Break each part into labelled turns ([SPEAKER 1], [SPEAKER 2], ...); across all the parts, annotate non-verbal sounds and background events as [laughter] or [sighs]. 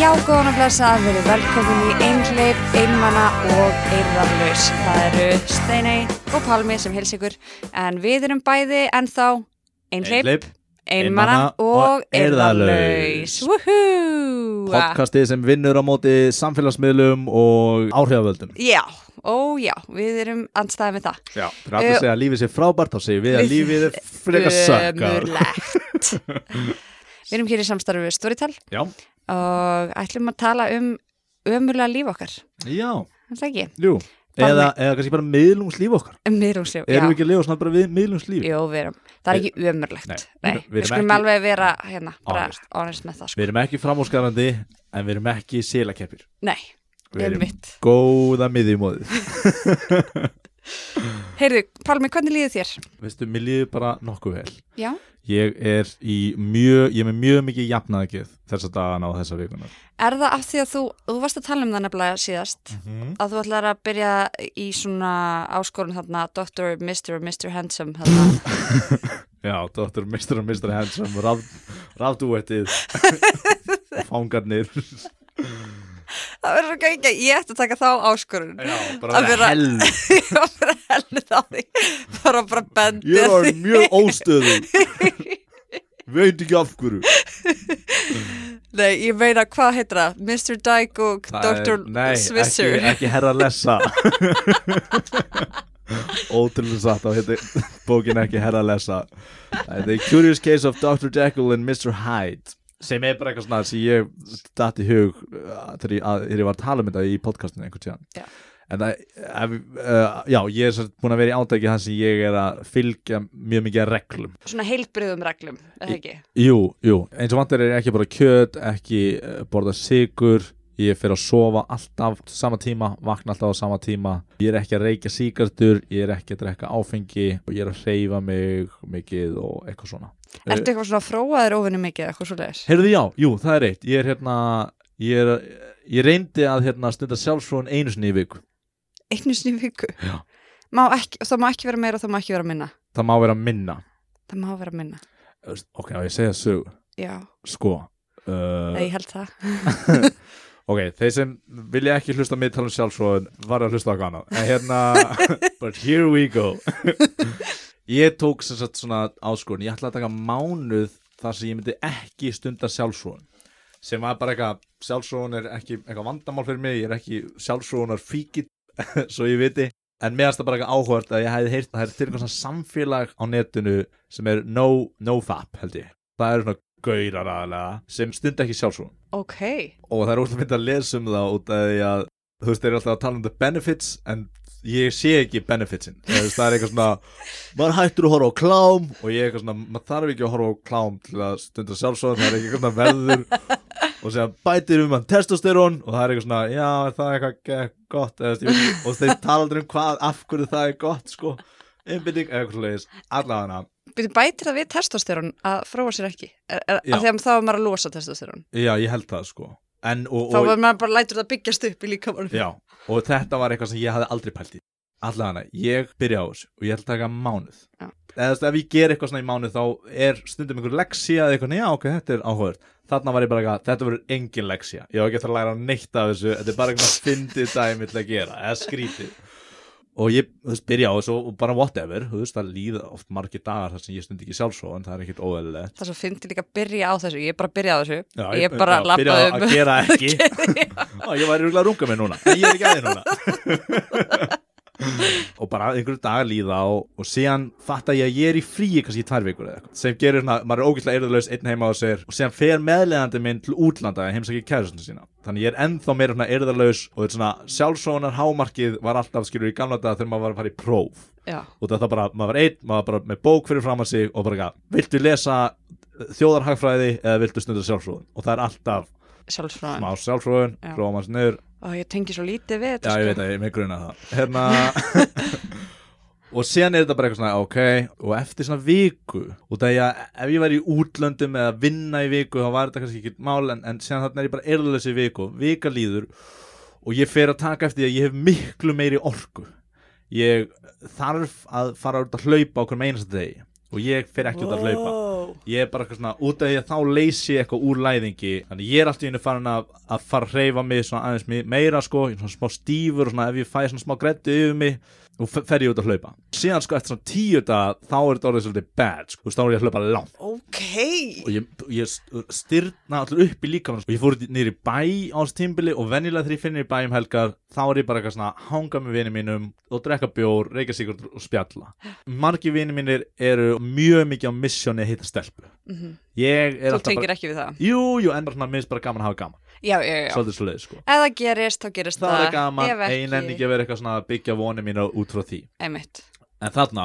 [SPEAKER 1] Já, góðan og blessað, við erum velkomin í Einleip, Einmana og Eirðarlaus. Það eru Steinei og Palmi sem hils ykkur, en við erum bæði ennþá Einleip,
[SPEAKER 2] Einhleyp,
[SPEAKER 1] Einmana
[SPEAKER 2] Einmana
[SPEAKER 1] og
[SPEAKER 2] og
[SPEAKER 1] Eirðarlaus.
[SPEAKER 2] Eyrðalaus.
[SPEAKER 1] Woohoo!
[SPEAKER 2] podcastið sem vinnur á móti samfélagsmiðlum og áhrifavöldum.
[SPEAKER 1] Já, ó já, við erum andstæðið með það.
[SPEAKER 2] Já. Það er allir að segja að lífið sé frábært, þá segir við að lífið er frekar sökkar. [laughs]
[SPEAKER 1] Ömurlegt. við erum hér í samstarfi við Storytel
[SPEAKER 2] Já,
[SPEAKER 1] og ætlum að tala um ömurlega líf okkar.
[SPEAKER 2] já,
[SPEAKER 1] Er Það ekki,
[SPEAKER 2] jú. Eða, eða kannski bara miðlungslíf okkar.
[SPEAKER 1] miðrúslíf.
[SPEAKER 2] Erum við ekki að lifa svona bara við miðlungslíf?
[SPEAKER 1] Jú, við erum, það er ekki umurlegt Nei,
[SPEAKER 2] Nei, við erum
[SPEAKER 1] við skulum
[SPEAKER 2] ekki-
[SPEAKER 1] alveg vera hérna, bara
[SPEAKER 2] Honest.
[SPEAKER 1] honest með það sko.
[SPEAKER 2] Við erum ekki framúrskarandi, en við erum ekki sílakeppir.
[SPEAKER 1] Nei, við erum mitt
[SPEAKER 2] góða miði í móðið.
[SPEAKER 1] Heyrðu, Pálmi, hvernig líður þér?
[SPEAKER 2] Veistu, mér líður bara nokkuð vel.
[SPEAKER 1] Já,
[SPEAKER 2] Ég er í mjög, ég er með mjög mikið jafnaðgjöð þessa dagana og þessa vikuna.
[SPEAKER 1] er það af því að þú þú varst að tala um það nefnilega síðast
[SPEAKER 2] Mhm.
[SPEAKER 1] að þú ætlar að byrja í svona áskorun þarna Dr. Mr. Mr. Handsome
[SPEAKER 2] [laughs]
[SPEAKER 1] þarna.
[SPEAKER 2] Já, Dr. Mr. og Mr. Handsome raf,
[SPEAKER 1] [laughs]
[SPEAKER 2] rafdúettið og fangarnir
[SPEAKER 1] það verður svo ekki að ég ætti að taka þá áskorun
[SPEAKER 2] Já,
[SPEAKER 1] Að vera-
[SPEAKER 2] hell
[SPEAKER 1] [laughs] ég var bara að hellu það því bara bara bendi
[SPEAKER 2] Ég er mjög óstöðu Veit ekki af hverju
[SPEAKER 1] [laughs] Nei, ég meina, hvað heitir það? Mr. Dyke og
[SPEAKER 2] Það
[SPEAKER 1] Dr.
[SPEAKER 2] er- Nei,
[SPEAKER 1] Swisher
[SPEAKER 2] ekki, ekki herra
[SPEAKER 1] [laughs]
[SPEAKER 2] lessa Ótrúlega satt á heiti bókin ekki herra lessa The Curious Case of Dr. Jekyll and Mr. Hyde sem er bara eitthvað svona sem ég datt í hug uh, þegar ég, að, þegar ég var að tala um þetta í podcastinu einhvern tíðan
[SPEAKER 1] Já.
[SPEAKER 2] en það, ef, uh, já, ég er svo búin að vera í átæki þannig sem ég er að fylgja mjög mikið af reglum
[SPEAKER 1] svona heilbriðum reglum, eða ekki?
[SPEAKER 2] Jú, jú, eins og vantar er ég ekki bara kjöt, ekki eh, borða sigur, ég fer að sofa alltaf á sama tíma, vakna alltaf á sama tíma, ég er ekki að reykja sígartur, ég er ekki að drekka áfengi og ég er að hreyfa mig mikið og eitthvað svona. Eh,
[SPEAKER 1] Ertu eitthvað svona fróaður óvinni mikið eða eitthvað svo leiðis?
[SPEAKER 2] Heyrðu já, jú, það er eitt, ég er hérna, ég, er, ég reyndi að hérna, stunda sjálfsfrón einu sinni í viku,
[SPEAKER 1] Einu sinni í viku?
[SPEAKER 2] Já.
[SPEAKER 1] Má ekki, það má ekki vera meira og það má ekki vera minna.
[SPEAKER 2] það má vera minna,
[SPEAKER 1] Það má vera minna,
[SPEAKER 2] Þú veist, ok, á ég að segja sög,
[SPEAKER 1] já,
[SPEAKER 2] sko, uh,
[SPEAKER 1] ég held það.
[SPEAKER 2] Ok, þeir sem vilja ekki hlusta á mig tala um sjálfsfróðun var að hlusta á hana en hérna, [laughs] but here we go [laughs] Ég tók sem sagt svona áskorun, ég ætlaði að taka mánuð þar sem ég myndi ekki stunda sjálfsfróðun sem var bara eitthvað sjálfsfróðun er ekki eitthvað vandamál fyrir mig ég er ekki sjálfsfróðunar fíkit [laughs] svo ég viti, en meðast það bara eitthvað áhvert að ég hefði heyrt að það er til eitthvað svona samfélag á netinu sem er no, nofap held ég, það eru svona gaurar aðalega sem stunda ekki sjálfsfróðun
[SPEAKER 1] Ok,
[SPEAKER 2] og það er óslega mynd að lesa um það út af því að þú veist, þeir eru alltaf að tala um the benefits en ég sé ekki benefitsin Eða, þú veist, það er eitthvað svona, maður hættur að horfa á klám og ég er eitthvað svona, maður þarf ekki að horfa á klám til að stunda sjálfsögðan, það er ekki eitthvað svona verður og segja bætir um hann testosterón og það er eitthvað svona, já, er það eitthvað ge- gott Eða, þú veist, ég veit ekki. og þeir tala aldrei um hvað, af hverju það er gott sko, einbinding, eitthvað svoleiðis. allavega
[SPEAKER 1] byrju bætir það við testosterón að fróa sér ekki? Er, er,
[SPEAKER 2] Já.
[SPEAKER 1] af því að þá er maður að losa testosterón.
[SPEAKER 2] já, ég held það sko en, og,
[SPEAKER 1] Þá
[SPEAKER 2] og,
[SPEAKER 1] er maður bara lætur það byggjast upp í líkamannum.
[SPEAKER 2] Já, og þetta var eitthvað sem ég hafði aldrei pælt í Allavega, ég byrja á þessu og ég ætla að taka mánuð
[SPEAKER 1] Já.
[SPEAKER 2] Eða þú veist, ef ég ger eitthvað svona í mánuð þá er stundum einhver leksía eða eitthvað, já ok, þetta er áhugavert Þarna var ég bara eitthvað, þetta verður engin leksía Ég var ekki eftir að læra neitt af þessu Þetta er bara eitthvað fyndið dæmi til að gera eða skrítið og ég þú veist, byrja á þessu og bara whatever þú veist, það líða oft margir dagar þar sem ég stundi ekki sjálfsó en það er ekkit óeðlilegt
[SPEAKER 1] Það er svo fyndi líka að byrja á þessu, ég er bara að byrja á þessu.
[SPEAKER 2] Já,
[SPEAKER 1] ég, bara
[SPEAKER 2] já,
[SPEAKER 1] labbaði
[SPEAKER 2] byrja á
[SPEAKER 1] um.
[SPEAKER 2] að gera ekki Á, ég væri rúglega að runga mig núna En ég er ekki aðeins núna
[SPEAKER 1] [laughs]
[SPEAKER 2] Og bara einhverju dagar líða og, og síðan fatta ég að ég er í fríi kannski í tvær vikur eða eitthvað sem gerir svona, maður er ógæslega eyrðalaus einn heima á sér og síðan fer meðlegandi minn til útlanda að heimsækja kærustuna sína þannig ég er ennþá meira svona eyrðalaus og þetta svona sjálfsónar hámarkið var alltaf skilur í gamla daga þegar maður var að fara í próf
[SPEAKER 1] [laughs] Já,
[SPEAKER 2] og það bara, maður var einn, maður var bara með bók fyrir fram að sig og bara eitthvað, viltu lesa eh, þjóðarhagfræði eða viltu stundar sjálfsróðun og það er alltaf
[SPEAKER 1] sjálfsfróðan.
[SPEAKER 2] smá sjálfsróðun,
[SPEAKER 1] Já.
[SPEAKER 2] prófa maður sniður
[SPEAKER 1] Og ég tengi svo lítið við þetta. sko.
[SPEAKER 2] Já, ég veit að ég með gruna það Hérna [laughs] Og síðan er þetta bara eitthvað svona, ok Og eftir svona viku Og það ég að ef ég væri í útlöndum eða vinna í viku Þá var þetta kannski ekki mál En, en síðan þarna er ég bara erðalös í viku Vika líður Og ég fer að taka eftir því að ég hef miklu meiri orku Ég þarf að fara út að hlaupa Okkur með einasta degi Og ég fer ekki út að hlaupa
[SPEAKER 1] Wow,
[SPEAKER 2] Ég er bara eitthvað svona, út af því að þá leysi ég eitthvað úr læðingi Þannig ég er alltaf einu farin að, að fara að hreyfa mig svona aðeins mi- meira sko Ég er svona smá stífur og svona ef ég fæ svona smá grættu yfir mig Og f- fer ég út að hlaupa Síðan sko eftir svona tíu daga þá er þetta orðið svolítið bad sko Þú veist þá er ég að hlaupa langt
[SPEAKER 3] Ok
[SPEAKER 2] og ég, ég st- styrna allir upp í líkamann og ég fór nýri bæ á þessu tímbili og venjulega þegar ég finn í bæ um helgar þá er ég bara eitthvað svona að hanga með vinið mínum og drekka bjór, reykja sigur og spjalla margir vinið mínir eru mjög mikið á missjóni að hitta stelpu ég er
[SPEAKER 1] Mhm. Þú
[SPEAKER 2] alltaf
[SPEAKER 1] tengir
[SPEAKER 2] bara
[SPEAKER 1] ekki við það
[SPEAKER 2] jú, jú, en bara svona minnst bara gaman að hafa gaman
[SPEAKER 1] Já, já, já, já.
[SPEAKER 2] svolítið svo sko
[SPEAKER 1] Ef það gerist, þá gerist það
[SPEAKER 2] það er gaman,
[SPEAKER 1] Ef
[SPEAKER 2] ein enn ekki að vera eitthvað svona að byggja vonið mína út frá því
[SPEAKER 1] Einmitt
[SPEAKER 2] en þarna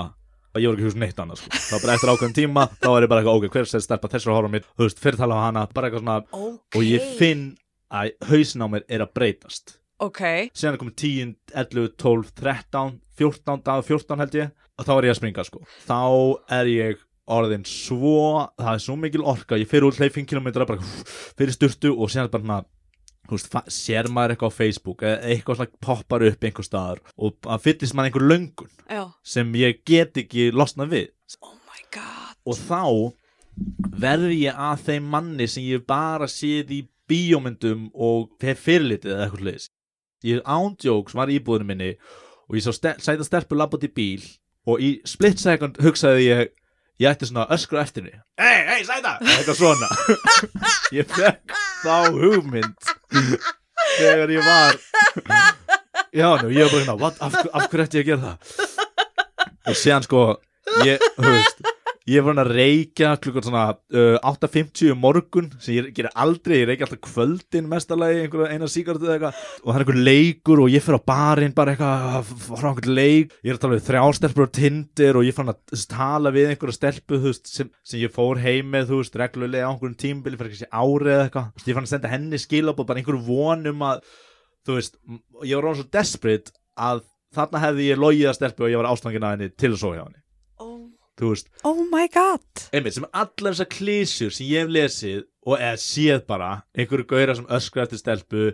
[SPEAKER 2] að ég voru ekki hugsa um neitt annað sko. þá bara eftir ákveðum tíma, þá er ég bara eitthvað ok, hver sér stelpa þessar horfum mér, þú veist, fyrir tala á hana bara eitthvað svona,
[SPEAKER 3] Ok
[SPEAKER 2] og ég finn að hausin á mér er að breytast
[SPEAKER 1] Ok,
[SPEAKER 2] síðan er komið 10, 11, 12, 13 14 dag, 14 held ég og þá er ég að springa sko þá er ég orðin svo það er svo mikil orka, ég fyrir út hleyfing kilometra bara fyrir sturtu og síðan bara svona þú veist, fa- sér maður eitthvað á Facebook eða eitthvað svona poppar upp einhver staðar og að fyllist maður einhver löngun
[SPEAKER 1] já
[SPEAKER 2] sem ég get ekki losna við
[SPEAKER 1] Oh my god
[SPEAKER 2] og þá verði ég að þeim manni sem ég hef bara séð í bíómyndum og hef fyrirlitið eða eitthvað leis ég ándjóks var í íbúðinu minni og ég sá stel sæta stelpu labbað í bíl og í split second hugsaði ég ég ætti svona að öskra eftir henni hei, hei, sæta, eitthvað svona [laughs] ég fekk þá hugmynd þegar ég var já, nú, ég var bara hérna "What? af, af hverju ætti ég að gera það og séðan sko ég, þú veist Ég var hann að reykja klukkan svona uh, 8.50 um morgun sem ég gerir aldrei, ég reykja alltaf kvöldin mestalagi, einhverja eina síkartu eða eitthvað og það er einhver leikur og ég fer á barinn bara eitthvað, að fara á einhvern leik ég er að tala við þrjástelpur og tindir og ég fann að þú veist, tala við einhverja stelpu þú veist, sem, sem ég fór heim með, þú veist, reglulega á einhverjum tímbili fyrir ekki árið eða eitthvað Þú veist, ég fann að senda henni skilabóð, bara einhverju vonum að þú veist, m- ég var ráðan svo desperate að þarna hefði ég logið að stelpu og ég var ástangin að henni til að sofa hjá henni
[SPEAKER 3] oh.
[SPEAKER 2] þú veist,
[SPEAKER 1] Oh my god
[SPEAKER 2] einmitt, sem allar þessar klísjur sem ég hef lesið og eða séð bara einhverju gauðra sem öskra eftir stelpu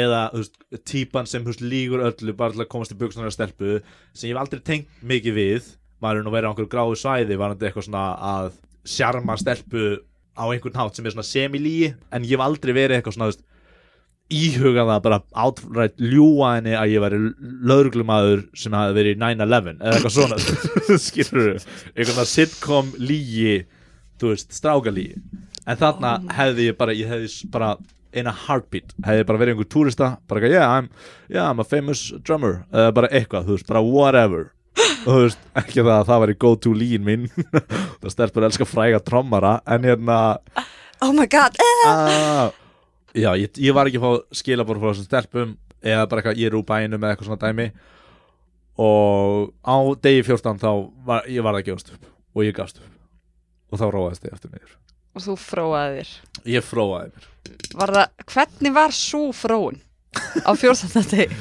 [SPEAKER 2] eða þú veist, típan sem þú veist, lígur öllu bara til að komast í buksunar af stelpu sem ég hef aldrei tengt mikið við maður er nú verið á einhverju gráu svæði varandi eitthvað svona að sjarma stelpu á einhvern hátt sem er svona semilíi en ég hef aldrei verið eitthvað svona þú veist, íhuga það bara átrætt ljúa henni að ég væri lögreglumadur sem hafi verið í 9-11 eða eitthvað svona [laughs] skilur einhvern veginn sitcom lígi þú veist, strákalígi en þarna hefði ég bara, ég hefði s- bara in a heartbeat, hefði bara verið einhver túrista bara eitthvað, yeah, I'm, yeah, I'm a famous drummer eða bara eitthvað, þú veist, bara whatever og þú veist, ekki það að það væri go to lígin mín [laughs] það stelpur elska fræga trommara en hérna
[SPEAKER 1] Oh my god Eh,
[SPEAKER 2] Ah, Já, ég, ég var ekki að fá skilabór frá þessum stelpum eða bara eitthvað, ég er úr bænum eða eitthvað svona dæmi og á degi 14 þá var, ég var að gefast upp og ég gafst upp og þá róaðist ég eftir mér
[SPEAKER 1] Og þú fróaði þér
[SPEAKER 2] Ég fróaði mér
[SPEAKER 1] Var það, hvernig var svo fróun? Á 14. deg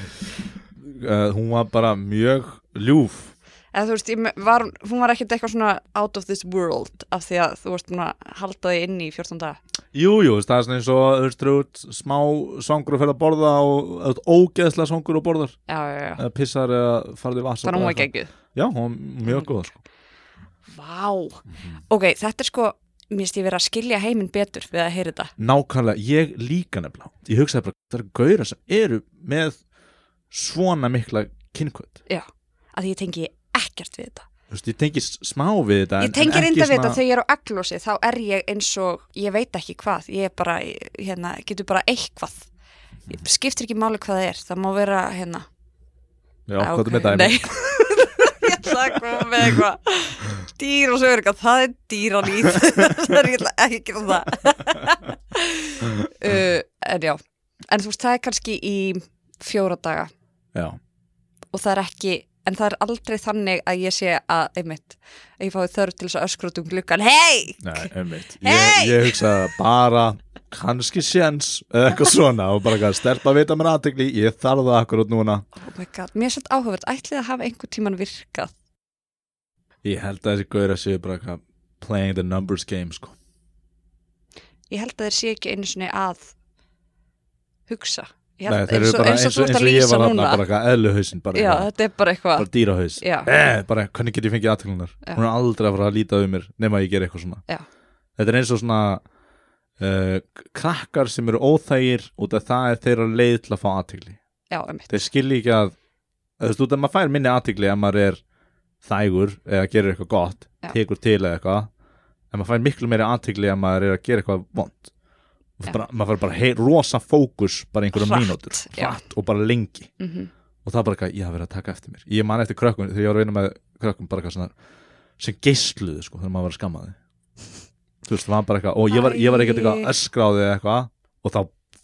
[SPEAKER 2] uh, Hún var bara mjög ljúf
[SPEAKER 1] [laughs] Eða þú veist, ég me- var, hún var ekkert eitthvað svona out of this world af því að þú varst búin að halda þig inn í 14 daga.
[SPEAKER 2] Jú, jú, þú veist, það er svona eins og þú veist, þú ert smá svangur að fyrir að borða og þú ert ógeðslega svangur og borðar
[SPEAKER 1] Já, já, já.
[SPEAKER 2] eða pissar eða farði vasa
[SPEAKER 1] Þannig að hún var geggjuð.
[SPEAKER 2] Já, hún var mjög góð sko.
[SPEAKER 1] Vá.
[SPEAKER 2] Mhm.
[SPEAKER 1] Ok, þetta er sko, mér finnst ég vera að skilja heiminn betur við að heyra þetta.
[SPEAKER 2] nákvæmlega, ég líka nefnilega ég hugsaði bara, það eru gauðra sem eru með svona mikla kynkvöld,
[SPEAKER 1] Já. Að því ég tengi ekkert við þetta.
[SPEAKER 2] þú veist, ég tengi s- smá við þetta
[SPEAKER 1] Ég tengi reynda við þetta
[SPEAKER 2] þegar
[SPEAKER 1] þegar ég er á aglósi, þá er ég eins og, ég veit ekki hvað, ég er bara, hérna, getur bara eitthvað. Ég skiptir ekki máli hvað það er, það má vera, hérna,
[SPEAKER 2] Já, hvað
[SPEAKER 1] ok,
[SPEAKER 2] er með dæmi?
[SPEAKER 1] Nei [laughs] Ég ætla að koma með eitthvað Dýr og sögur eitthvað, það er dýralíð [laughs] Það er ég ætla ekki að gera það [laughs] uh, En já En þú veist, það er kannski í fjóra daga
[SPEAKER 2] Já,
[SPEAKER 1] og það er ekki En það er aldrei þannig að ég sé að, einmitt, að ég fái þörf til þess að öskra út um gluggan, hei!
[SPEAKER 2] nei, einmitt
[SPEAKER 1] Hey!
[SPEAKER 2] ég, ég hugsaði bara, kannski séns eða eitthvað svona og bara eitthvað, stelpa vita mér aðtegli, ég þarf það akkurát núna
[SPEAKER 1] Oh my god, mér er svolítið áhugavert, ætlið að hafa einhver tíman virkað.
[SPEAKER 2] Ég held að þessi gauðra séu bara eitthvað playing the numbers game, sko
[SPEAKER 1] Ég held að þeir sé ekki einu sinni að hugsa. Ég
[SPEAKER 2] Nei,
[SPEAKER 1] Held,
[SPEAKER 2] þeir eru bara eins og, eins og ég var þarna, bara eitthvað eðluhausin, bara,
[SPEAKER 1] Já,
[SPEAKER 2] eitthvað,
[SPEAKER 1] þetta er bara eitthvað
[SPEAKER 2] bara dýrahaus
[SPEAKER 1] Já,
[SPEAKER 2] eh, bara hvernig get ég fengið aðteglunar
[SPEAKER 1] Já.
[SPEAKER 2] hún er aldrei að fara að líta um mér nema að ég ger eitthvað svona
[SPEAKER 1] Já.
[SPEAKER 2] þetta er eins og svona uh, krakkar sem eru óþægir út af það er þeirra leið til að fá aðtigli
[SPEAKER 1] já, um
[SPEAKER 2] þeir skilji ekki að þú veist, út af maður fær minni aðtigli ef maður er þægur eða gerir eitthvað gott
[SPEAKER 1] Já.
[SPEAKER 2] tekur til eða eitthvað en maður fær miklu meiri aðtigli ef maður er að gera eitthvað vond
[SPEAKER 1] Já.
[SPEAKER 2] bara, maður fær bara hei, rosa fókus bara einhverjum
[SPEAKER 1] Hratt,
[SPEAKER 2] mínútur
[SPEAKER 1] já.
[SPEAKER 2] hratt og bara lengi
[SPEAKER 1] mm
[SPEAKER 2] og það er bara eitthvað, ég hafa verið að taka eftir mér ég man eftir krökkum, þegar ég var að vinna með krökkum bara eitthvað svona, sem geisluðu sko þegar maður var að skamma þig þú veist, það var bara eitthvað, og ég var, ég var ekkert eitthvað
[SPEAKER 1] Æ.
[SPEAKER 2] öskráði eða eitthvað, og þá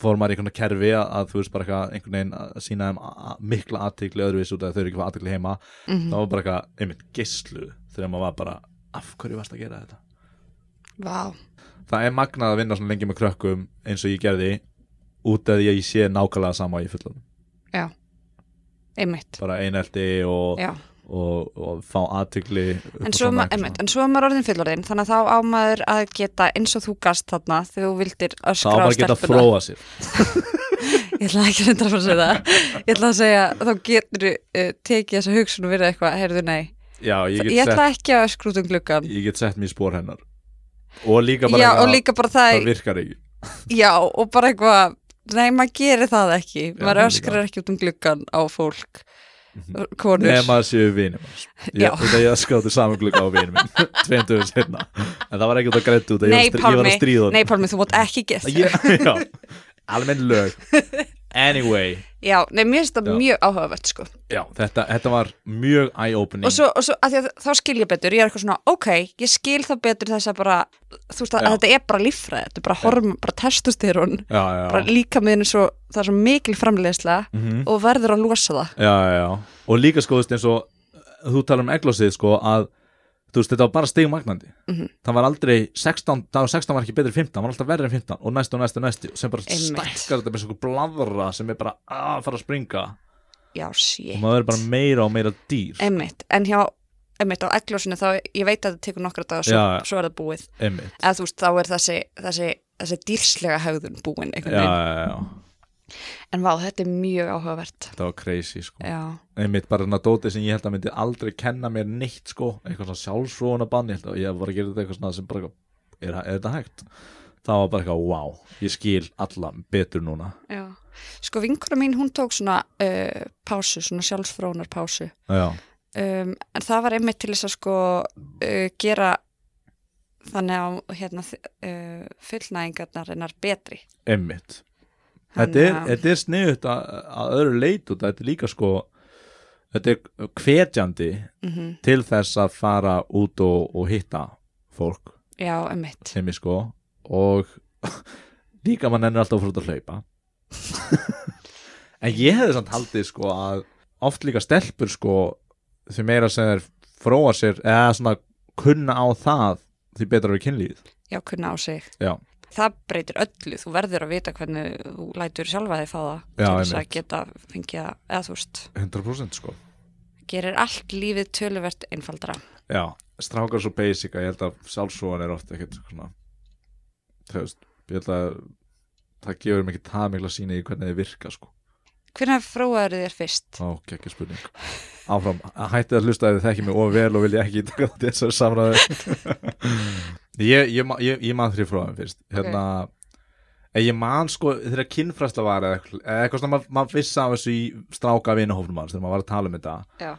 [SPEAKER 2] fór maður í einhvern kerfi að, að þú veist bara eitthvað einhvern veginn að sína þeim a- a- mikla aðtikli öðruvís út af að þau eru ekki að aðtikli heima
[SPEAKER 1] Mhm.
[SPEAKER 2] það var bara eitthvað, einmitt geisluðu þegar maður var bara, af hverju varst að gera þetta
[SPEAKER 1] Vá,
[SPEAKER 2] það er magnað að vinna svona lengi með krökkum eins og ég gerði, út af því að ég sé nákvæmlega sama í fullum
[SPEAKER 1] já einmitt,
[SPEAKER 2] bara einelti og,
[SPEAKER 1] já
[SPEAKER 2] og, og fá aðtykli
[SPEAKER 1] en svo, ma- einmitt, en svo er maður orðin fyllorðin þannig að þá á maður að geta eins og þú gast þarna þegar þú vildir
[SPEAKER 2] þá
[SPEAKER 1] öskra á
[SPEAKER 2] bara geta að
[SPEAKER 1] stelpuna
[SPEAKER 2] fróa sér
[SPEAKER 1] ég ætla ekki að reynda að fara að segja það ég ætla að segja þá getur uh, tekið þessa hugsun og verið eitthvað, heyrðu nei
[SPEAKER 2] já, ég
[SPEAKER 1] ég,
[SPEAKER 2] get, sett,
[SPEAKER 1] ætla ekki að öskra út um gluggan
[SPEAKER 2] ég get sett mér í spór hennar og líka bara
[SPEAKER 1] já
[SPEAKER 2] eitthvað,
[SPEAKER 1] og líka bara það,
[SPEAKER 2] það virkar ekki
[SPEAKER 1] já og bara eitthvað nei maður gerir það ekki, maður
[SPEAKER 2] líka.
[SPEAKER 1] öskrar ekki út um gluggan á fólk konur
[SPEAKER 2] Mhm. nema að séu vinum
[SPEAKER 1] Já.
[SPEAKER 2] ég, þetta ég skátti saman glugga á vinum minn
[SPEAKER 1] [laughs]
[SPEAKER 2] tveimtuðu senna en það var ekkert að greitt út að
[SPEAKER 1] nei
[SPEAKER 2] ég, var að strí- ég var að
[SPEAKER 1] Pálmi,
[SPEAKER 2] stríða honum.
[SPEAKER 1] nei Pálmi þú mátt ekki geta
[SPEAKER 2] ég, [laughs] já, almenn lög
[SPEAKER 1] [laughs]
[SPEAKER 2] anyway
[SPEAKER 1] já, nei mér finnst það
[SPEAKER 2] Já.
[SPEAKER 1] mjög áhugavert sko
[SPEAKER 2] já, þetta, þetta var mjög eye-opening
[SPEAKER 1] og svo, og svo að því að þá skil ég betur, ég er eitthvað svona ok, ég skil þá betur þess að bara þú veist að,
[SPEAKER 2] Já.
[SPEAKER 1] að þetta er bara líffræði, þetta er bara horm, bara testustyrun,
[SPEAKER 2] já, já, Mhm.
[SPEAKER 1] bara líka miðin svo, það er svo mikil framleiðsla og verður að losa það
[SPEAKER 2] já, já, já. og líka sko þú veist, eins og uh, þú talar um eglosið sko að þú veist, þetta var bara stigmagnandi
[SPEAKER 1] Mhm.
[SPEAKER 2] það var aldrei 16, það var 16 var ekki betri en 15 það var alltaf verri en 15 og næstu og næstu og næstu sem bara
[SPEAKER 1] Einmitt.
[SPEAKER 2] stækkar þetta með svona bladra sem er bara að fara að springa
[SPEAKER 1] já,
[SPEAKER 2] og
[SPEAKER 1] sí,
[SPEAKER 2] maður er bara meira og meira dýr
[SPEAKER 1] einmitt en hjá, einmitt á egljósinu þá ég veit að það tekur nokkra dagar svo,
[SPEAKER 2] Já, já.
[SPEAKER 1] svo er það búið
[SPEAKER 2] einmitt
[SPEAKER 1] eða þú veist, þá er þessi, þessi þessi dýrslega haugðun búin
[SPEAKER 2] já,
[SPEAKER 1] einhvern veginn,
[SPEAKER 2] já, já,
[SPEAKER 1] en vá, þetta er mjög áhugavert
[SPEAKER 2] það var crazy sko
[SPEAKER 1] já,
[SPEAKER 2] einmitt bara hann að dóti sem ég held að myndi aldrei kenna mér neitt sko, eitthvað svona sjálfsróuna bann ég held að ég var að gera þetta eitthvað svona sem bara er, er þetta hægt það var bara eitthvað, wow, ég skil alla betur núna
[SPEAKER 1] já sko vinkona mín, hún tók svona uh, pásu, svona sjálfsfrónar pásu
[SPEAKER 2] já,
[SPEAKER 1] um, en það var einmitt til þess að sko uh, gera þannig að hérna, uh, fullnæðingarnar hennar betri
[SPEAKER 2] einmitt
[SPEAKER 1] Þannig
[SPEAKER 2] þetta er,
[SPEAKER 1] að-
[SPEAKER 2] þetta er sniðut að, að öðru leit og þetta er líka sko þetta er hvetjandi
[SPEAKER 1] Mhm.
[SPEAKER 2] til þess að fara út og, og hitta fólk
[SPEAKER 1] já, einmitt
[SPEAKER 2] sem ég sko og [laughs] líka mann ennur alltaf að fara út að hlaupa [laughs] en ég hefði samt haldið sko að oft líka stelpur sko því meira sem þær fróa sér eða svona kunna á það því betra við kynlíð
[SPEAKER 1] já, kunna á sig
[SPEAKER 2] Já.
[SPEAKER 1] það breytir öllu, þú verður að vita hvernig þú lætur sjálfa þig fá það
[SPEAKER 2] Já,
[SPEAKER 1] til þess að
[SPEAKER 2] einmitt.
[SPEAKER 1] geta fengið að, eða þú veist,
[SPEAKER 2] 100% sko
[SPEAKER 1] gerir allt lífið töluvert einfaldara
[SPEAKER 2] Já, strákar svo basic að ég held að sjálfsvoðan er ofta ekkert svona þú veist, ég held að það gefur mér ekki það mikla síni í hvernig þið virka sko,
[SPEAKER 1] hvernig fróaður þér fyrst?
[SPEAKER 2] þá ekki spurning áfram, hættið að hlusta ef þið þekki mig of vel og vilja ekki taka þetta þessar samræðu [laughs] ég, ég, ma- ég, ég man þrjum frá þeim fyrst hérna, en ég man sko þegar kynfræsla var eða eitthvað, eða eitthvað svona maður mað vissi af þessu í stráka vinahófnum hans þegar maður var að tala um þetta
[SPEAKER 1] Já.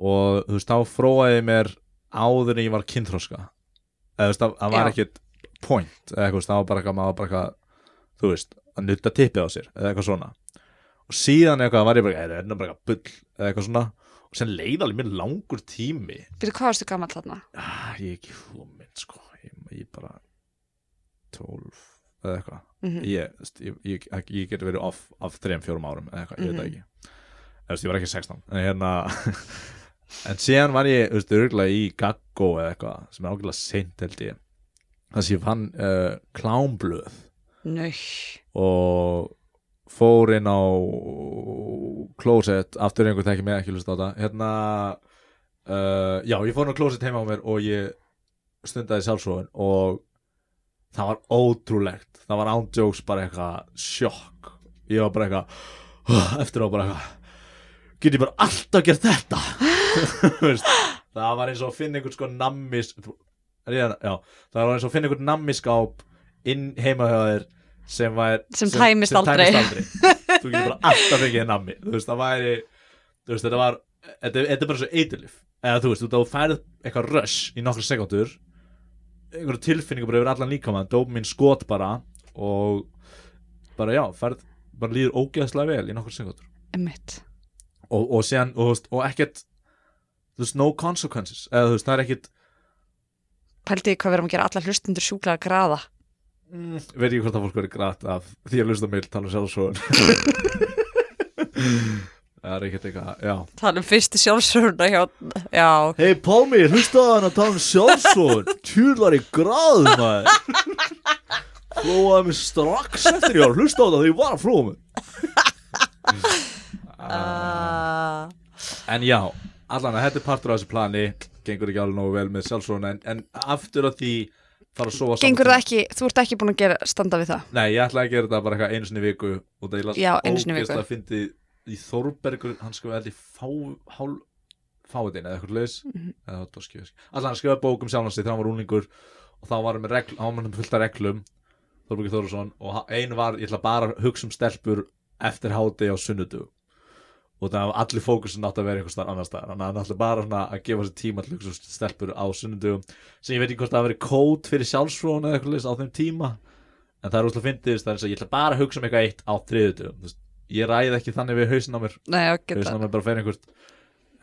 [SPEAKER 2] og þú veist, þá fróaði ég mér áður en ég var kynþróska eða þú veist, það- það var
[SPEAKER 1] Já.
[SPEAKER 2] ekkit point, eða eitthvað, þú veist, það var bara eitthvað, maður var bara eitthvað þú veist, að nutta tippið á sér eða eitthvað svona og síðan eitthvað var ég bara, eitthvað, er það bara eitthvað bull eða eitthvað svona, og sem leið alveg mér langur tími
[SPEAKER 1] Byrju, hvað varstu gammal þarna?
[SPEAKER 2] ah, ég er ekki húminn, sko ég, ég bara 12 eða eitthvað
[SPEAKER 1] Mm
[SPEAKER 2] ég, þú veist, ég, ég, ég- ég geti verið off af 3-4 árum eða eitthvað, ég veit það ekki Þú veist, ég var ekki 16 en, hérna, [laughs] en síðan var ég þú veist, örgulega í Gaggo eða eitthvað sem er ágætlega seint held ég þannig að ég fann uh, klámblöð
[SPEAKER 1] Nau,
[SPEAKER 2] og fór inn á closet aftur einhver þekki mig ekki hlusta á það hérna uh, já, ég fór inn á closet heima á mér og ég stundaði sjálfsóðin og það var ótrúlegt það var ándjóks bara eitthvað sjokk ég var bara eitthvað [sighs] "Ugh," eftir á bara eitthvað get ég bara [laughs] alltaf gert þetta Þú veist, það var eins og að finna einhvern sko nammis er ég að- já, það var eins og að finna einhvern nammiskáp inn heima hjá þér sem var
[SPEAKER 1] Sem tæmist aldrei.
[SPEAKER 2] þú getur bara alltaf fengið þér nammi þú veist, það væri þú veist, þetta var, þetta, þetta er bara svo eitilif eða þú veist, þú- þú færð eitthvað rush í nokkra sekundur einhverju tilfinningu bara yfir allan líkamann dómin skot bara og bara já, færð bara líður ógeðslega vel í nokkra sekundur
[SPEAKER 1] Emmitt.
[SPEAKER 2] og, og, síðan, og, þú veist, og ekkert þú veist, no consequences eða þú veist, það er ekkert
[SPEAKER 1] Pældiði hvað við erum að gera alla hlustundur sjúklega að græða.
[SPEAKER 2] mm, veit ekki hvort að fólk verið grætt af því að lusta meil tala um [laughs] sjálfsvöðun það er ekkert eitthvað, já
[SPEAKER 1] Það er fyrstu sjálfsöruna hjá, já,
[SPEAKER 2] Hei Pálmi, hlustaðu hann að tala um sjálfsvöðun tjúlar í gráð maður flóaði mig strax eftir ég var að hlusta á það því ég var að flóa mig
[SPEAKER 1] Uh,
[SPEAKER 2] En já, allan að þetta er partur af þessu plani gengur ekki alveg nógu vel með sjálfsvöðun en, en aftur að því fara að sofa saman
[SPEAKER 1] gengur
[SPEAKER 2] tíma.
[SPEAKER 1] það ekki, þú ert ekki búin að gera, standa við það
[SPEAKER 2] Nei, ég ætlaði að gera þetta bara eitthvað einu sinni í viku og það ég las
[SPEAKER 1] Já, einu sinni í viku.
[SPEAKER 2] að fyndi í Þórbergur, hann skrifaði held ég fá, hál, fáiðin eða eitthvað leis mm
[SPEAKER 1] Mhm.
[SPEAKER 2] -hmm. eða það skjöfis Alltaf hann skrifaði bók um sjálfansi þegar hann var úlingur og þá var hann með regl, hann var með fullta reglum Þórbergur Þórusson og ha- ein var, ég ætla bara að hugsa um stelpur eftir háti á sunnudug og það var allir fókusin átt að vera einhvers þar annars staðar þannig að hann ætla bara svona að gefa sér tíma til að hugsa um stelpur á sunnudugum sem ég veit ekki hvort það hafi verið kód fyrir sjálfsfrón eða eitthvað leis á þeim tíma en það er útla fyndið það er eins og ég ætla bara að hugsa um eitthvað eitt á þriðutum ég ræð ekki þannig við hausin á mér
[SPEAKER 1] Nei, ég
[SPEAKER 2] hausin
[SPEAKER 1] geta
[SPEAKER 2] á mér bara fer einhvert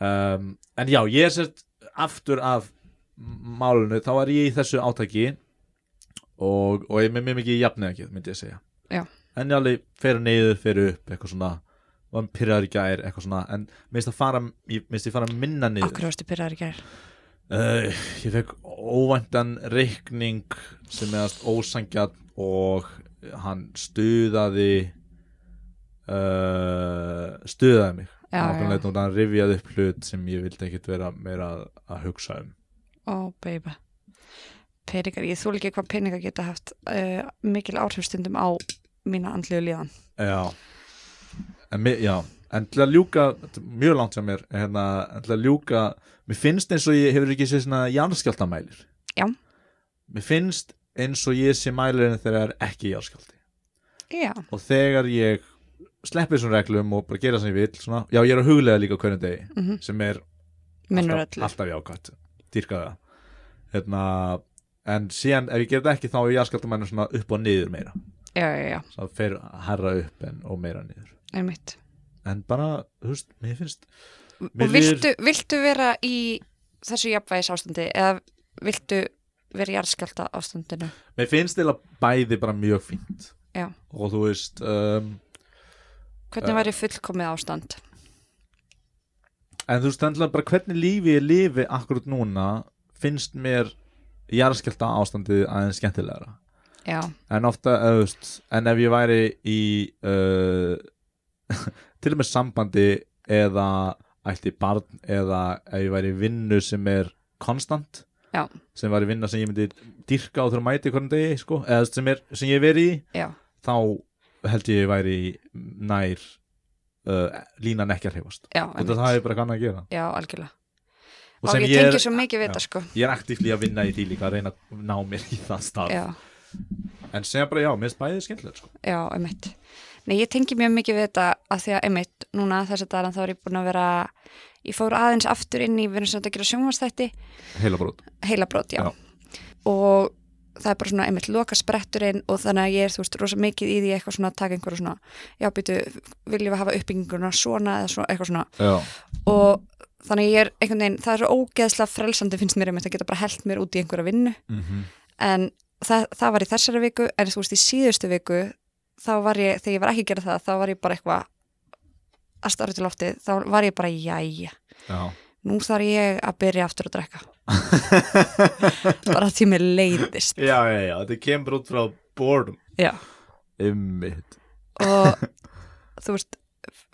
[SPEAKER 2] um, en já, ég er sért aftur af m- málinu þá er ég í þessu átaki og, og ég er með mjög mikið jafnið ekki myndi ég segja
[SPEAKER 1] Já.
[SPEAKER 2] en ég alveg fer niður, fer upp eitthvað svona var pyrraður í gær eitthvað svona en minnst að fara, ég, minnst ég fara minna niður
[SPEAKER 1] Akkur varstu byrjar í gær
[SPEAKER 2] Uh, ég fekk óvæntan reikning sem meðast ósangjarn og hann stuðaði uh, stuðaði mig
[SPEAKER 1] Já, já.
[SPEAKER 2] Nákvæmlega, og hann rifjaði upp hlut sem ég vildi ekkit vera meira að- að hugsa um
[SPEAKER 1] Ó, baby Peningar, ég þúl ekki hvað peningar geta haft uh, mikil áhrifstundum á mína andlegu líðan
[SPEAKER 2] Já En, mi- já. en til að ljúka þetta er mjög langt hjá mér hérna, en til að ljúka mér finnst eins og ég hefur ekki séð svona jarnskjaldamælir
[SPEAKER 1] Já.
[SPEAKER 2] Mér finnst eins og ég sé mælirinn þegar það er ekki jarnskjaldi
[SPEAKER 1] Já,
[SPEAKER 2] og þegar ég sleppi þessum reglum og bara gera sem ég vil svona, já ég er að huglega líka á hverjum degi
[SPEAKER 1] Mhm.
[SPEAKER 2] sem er
[SPEAKER 1] minnur
[SPEAKER 2] alltaf,
[SPEAKER 1] öllu
[SPEAKER 2] alltaf jákvæmt dýrka það hérna, en síðan ef ég gera þetta ekki þá er jarðskjaldamænum svona upp og niður meira
[SPEAKER 1] Já, já, já,
[SPEAKER 2] það fer herra upp en, og meira niður
[SPEAKER 1] einmitt
[SPEAKER 2] en bara, þú veist, mér finnst mér
[SPEAKER 1] Og viltu, viltu vera í þessu jafnvægis ástandi eða viltu vera í jarðskjálta ástandinu
[SPEAKER 2] mér finnst til að bæði bara mjög fínt
[SPEAKER 1] Já.
[SPEAKER 2] og þú veist um,
[SPEAKER 1] Hvernig væri fullkomið ástand?
[SPEAKER 2] En þú veist, þannig bara hvernig lífi ég lifi akkurat núna finnst mér jarðskjálta ástandið aðeins skemmtilegra.
[SPEAKER 1] Já,
[SPEAKER 2] En ofta, eða, þú veist, en ef ég væri í uh, [laughs] til og með sambandi eða ætti barn eða ef ég væri í vinnu sem er konstant,
[SPEAKER 1] Já.
[SPEAKER 2] sem væri vinna sem ég myndi dýrka og þurfa að mæti hvernig degi, sko, eða þú veist, sem, er, sem ég veri í,
[SPEAKER 1] já,
[SPEAKER 2] þá held ég væri nær uh, línan ekki að hreyfast.
[SPEAKER 1] já,
[SPEAKER 2] Þetta það hefur bara kannan að gera.
[SPEAKER 1] Já, algjörlega
[SPEAKER 2] Og
[SPEAKER 1] Og
[SPEAKER 2] sem
[SPEAKER 1] ég
[SPEAKER 2] ég er-
[SPEAKER 1] tengi svo mikið við
[SPEAKER 2] Já.
[SPEAKER 1] þetta sko
[SPEAKER 2] ég er aktífli að vinna í því líka að reyna að ná mér í það starf
[SPEAKER 1] Já
[SPEAKER 2] en segja bara já, mér finnst bæðið skemmtilegt sko.
[SPEAKER 1] Já, einmitt. Nei, ég tengi mjög mikið við þetta að því að einmitt núna þess að dagana þá er ég búin að vera, ég fór aðeins aftur inn í, við erum sem þetta að gera sjónvarsþætti,
[SPEAKER 2] heila brot
[SPEAKER 1] heilabrót, já.
[SPEAKER 2] Já.
[SPEAKER 1] Og það er bara svona einmitt loka spretturinn og þannig að ég er, þú veist, rosa mikið í því eitthvað svona að taka einhverju svona, já, býtu, viljum við hafa uppbygginguna svona eða svona, eitthvað svona.
[SPEAKER 2] já,
[SPEAKER 1] Og þannig að ég er einhvern veginn, það er svo ógeðslega frelsandi finnst mér einmitt að geta bara held mér út í einhverja vinnu
[SPEAKER 2] mm -hmm.
[SPEAKER 1] en það, það var í þessari viku en þú veist í síðustu viku þá var ég, þegar ég var ekki að gera það þá var ég bara eitthvað að starra til loftið, þá var ég bara jæja
[SPEAKER 2] já.
[SPEAKER 1] nú þarf ég að byrja aftur að
[SPEAKER 2] [laughs]
[SPEAKER 1] drekka bara því mér leiðist
[SPEAKER 2] já, já, já, þetta kemur út frá boredom
[SPEAKER 1] Já.
[SPEAKER 2] ymmit
[SPEAKER 1] og þú veist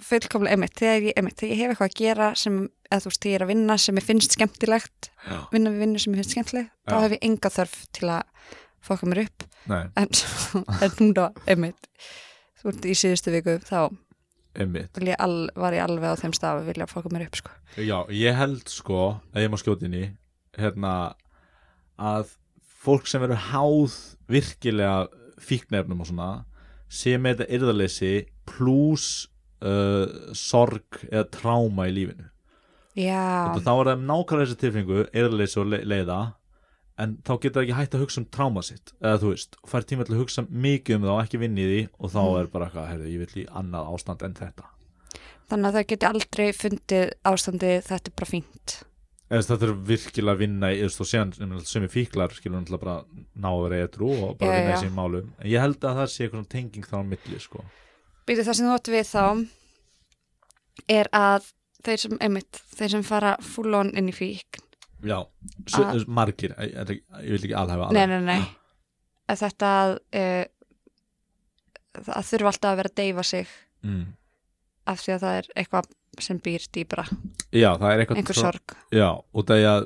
[SPEAKER 1] fullkomlega einmitt, þegar ég, einmitt, þegar ég hef eitthvað að gera sem, eða þú veist, þegar ég er að vinna sem ég finnst skemmtilegt, vinna við vinnu sem ég finnst skemmtileg, þá
[SPEAKER 2] Já.
[SPEAKER 1] hef ég enga þörf til að fóka mér upp
[SPEAKER 2] nei,
[SPEAKER 1] en, svo- en núna, einmitt þú ert í síðustu viku þá
[SPEAKER 2] ymmit
[SPEAKER 1] vil ég al, var ég alveg á þeim stað að vilja að fóka mér upp sko.
[SPEAKER 2] já, ég held sko, að ég má skjóta inn í hérna að fólk sem verður háð virkilega fíknefnum og svona sé með þetta yrðarleysi pluss uh, sorg eða tráma í lífinu
[SPEAKER 1] já,
[SPEAKER 2] Þetta, þá er það nákvæmlega þessi tilfinningu eðaleysi og le- leiða en þá getur það ekki hægt að hugsa um tráma sitt eða þú veist, fær tíma til að hugsa mikið um það og ekki vinni í því og þá
[SPEAKER 1] Mm.
[SPEAKER 2] er bara eitthvað, heyrðu, ég vil í annað ástand en þetta
[SPEAKER 1] þannig að þau geti aldrei fundið ástandið þetta er bara fínt
[SPEAKER 2] eða þess, þetta er virkilega að vinna í, eða þú séðan sem er fíklar skilur náttúrulega bara ná að vera eitrú og
[SPEAKER 1] Já,
[SPEAKER 2] bara vinna í
[SPEAKER 1] já.
[SPEAKER 2] sínum málum en ég held að það sé eitthvað tenging þá á milli sko.
[SPEAKER 1] Býtu það sem þú átt við þá er að þeir sem, einmitt, þeir sem fara full on inn í fíkn
[SPEAKER 2] já, svo,
[SPEAKER 1] Að-
[SPEAKER 2] margir ég, ég, ég vil ekki alhæfa
[SPEAKER 1] Ah. Nei, nei, nei að þetta að, uh, að þurfa alltaf að vera að deyfa sig
[SPEAKER 2] Mm.
[SPEAKER 1] af því að það er eitthvað sem býr dýbra,
[SPEAKER 2] já, það er eitthvað
[SPEAKER 1] einhver
[SPEAKER 2] svo-
[SPEAKER 1] sorg
[SPEAKER 2] Já, og það er að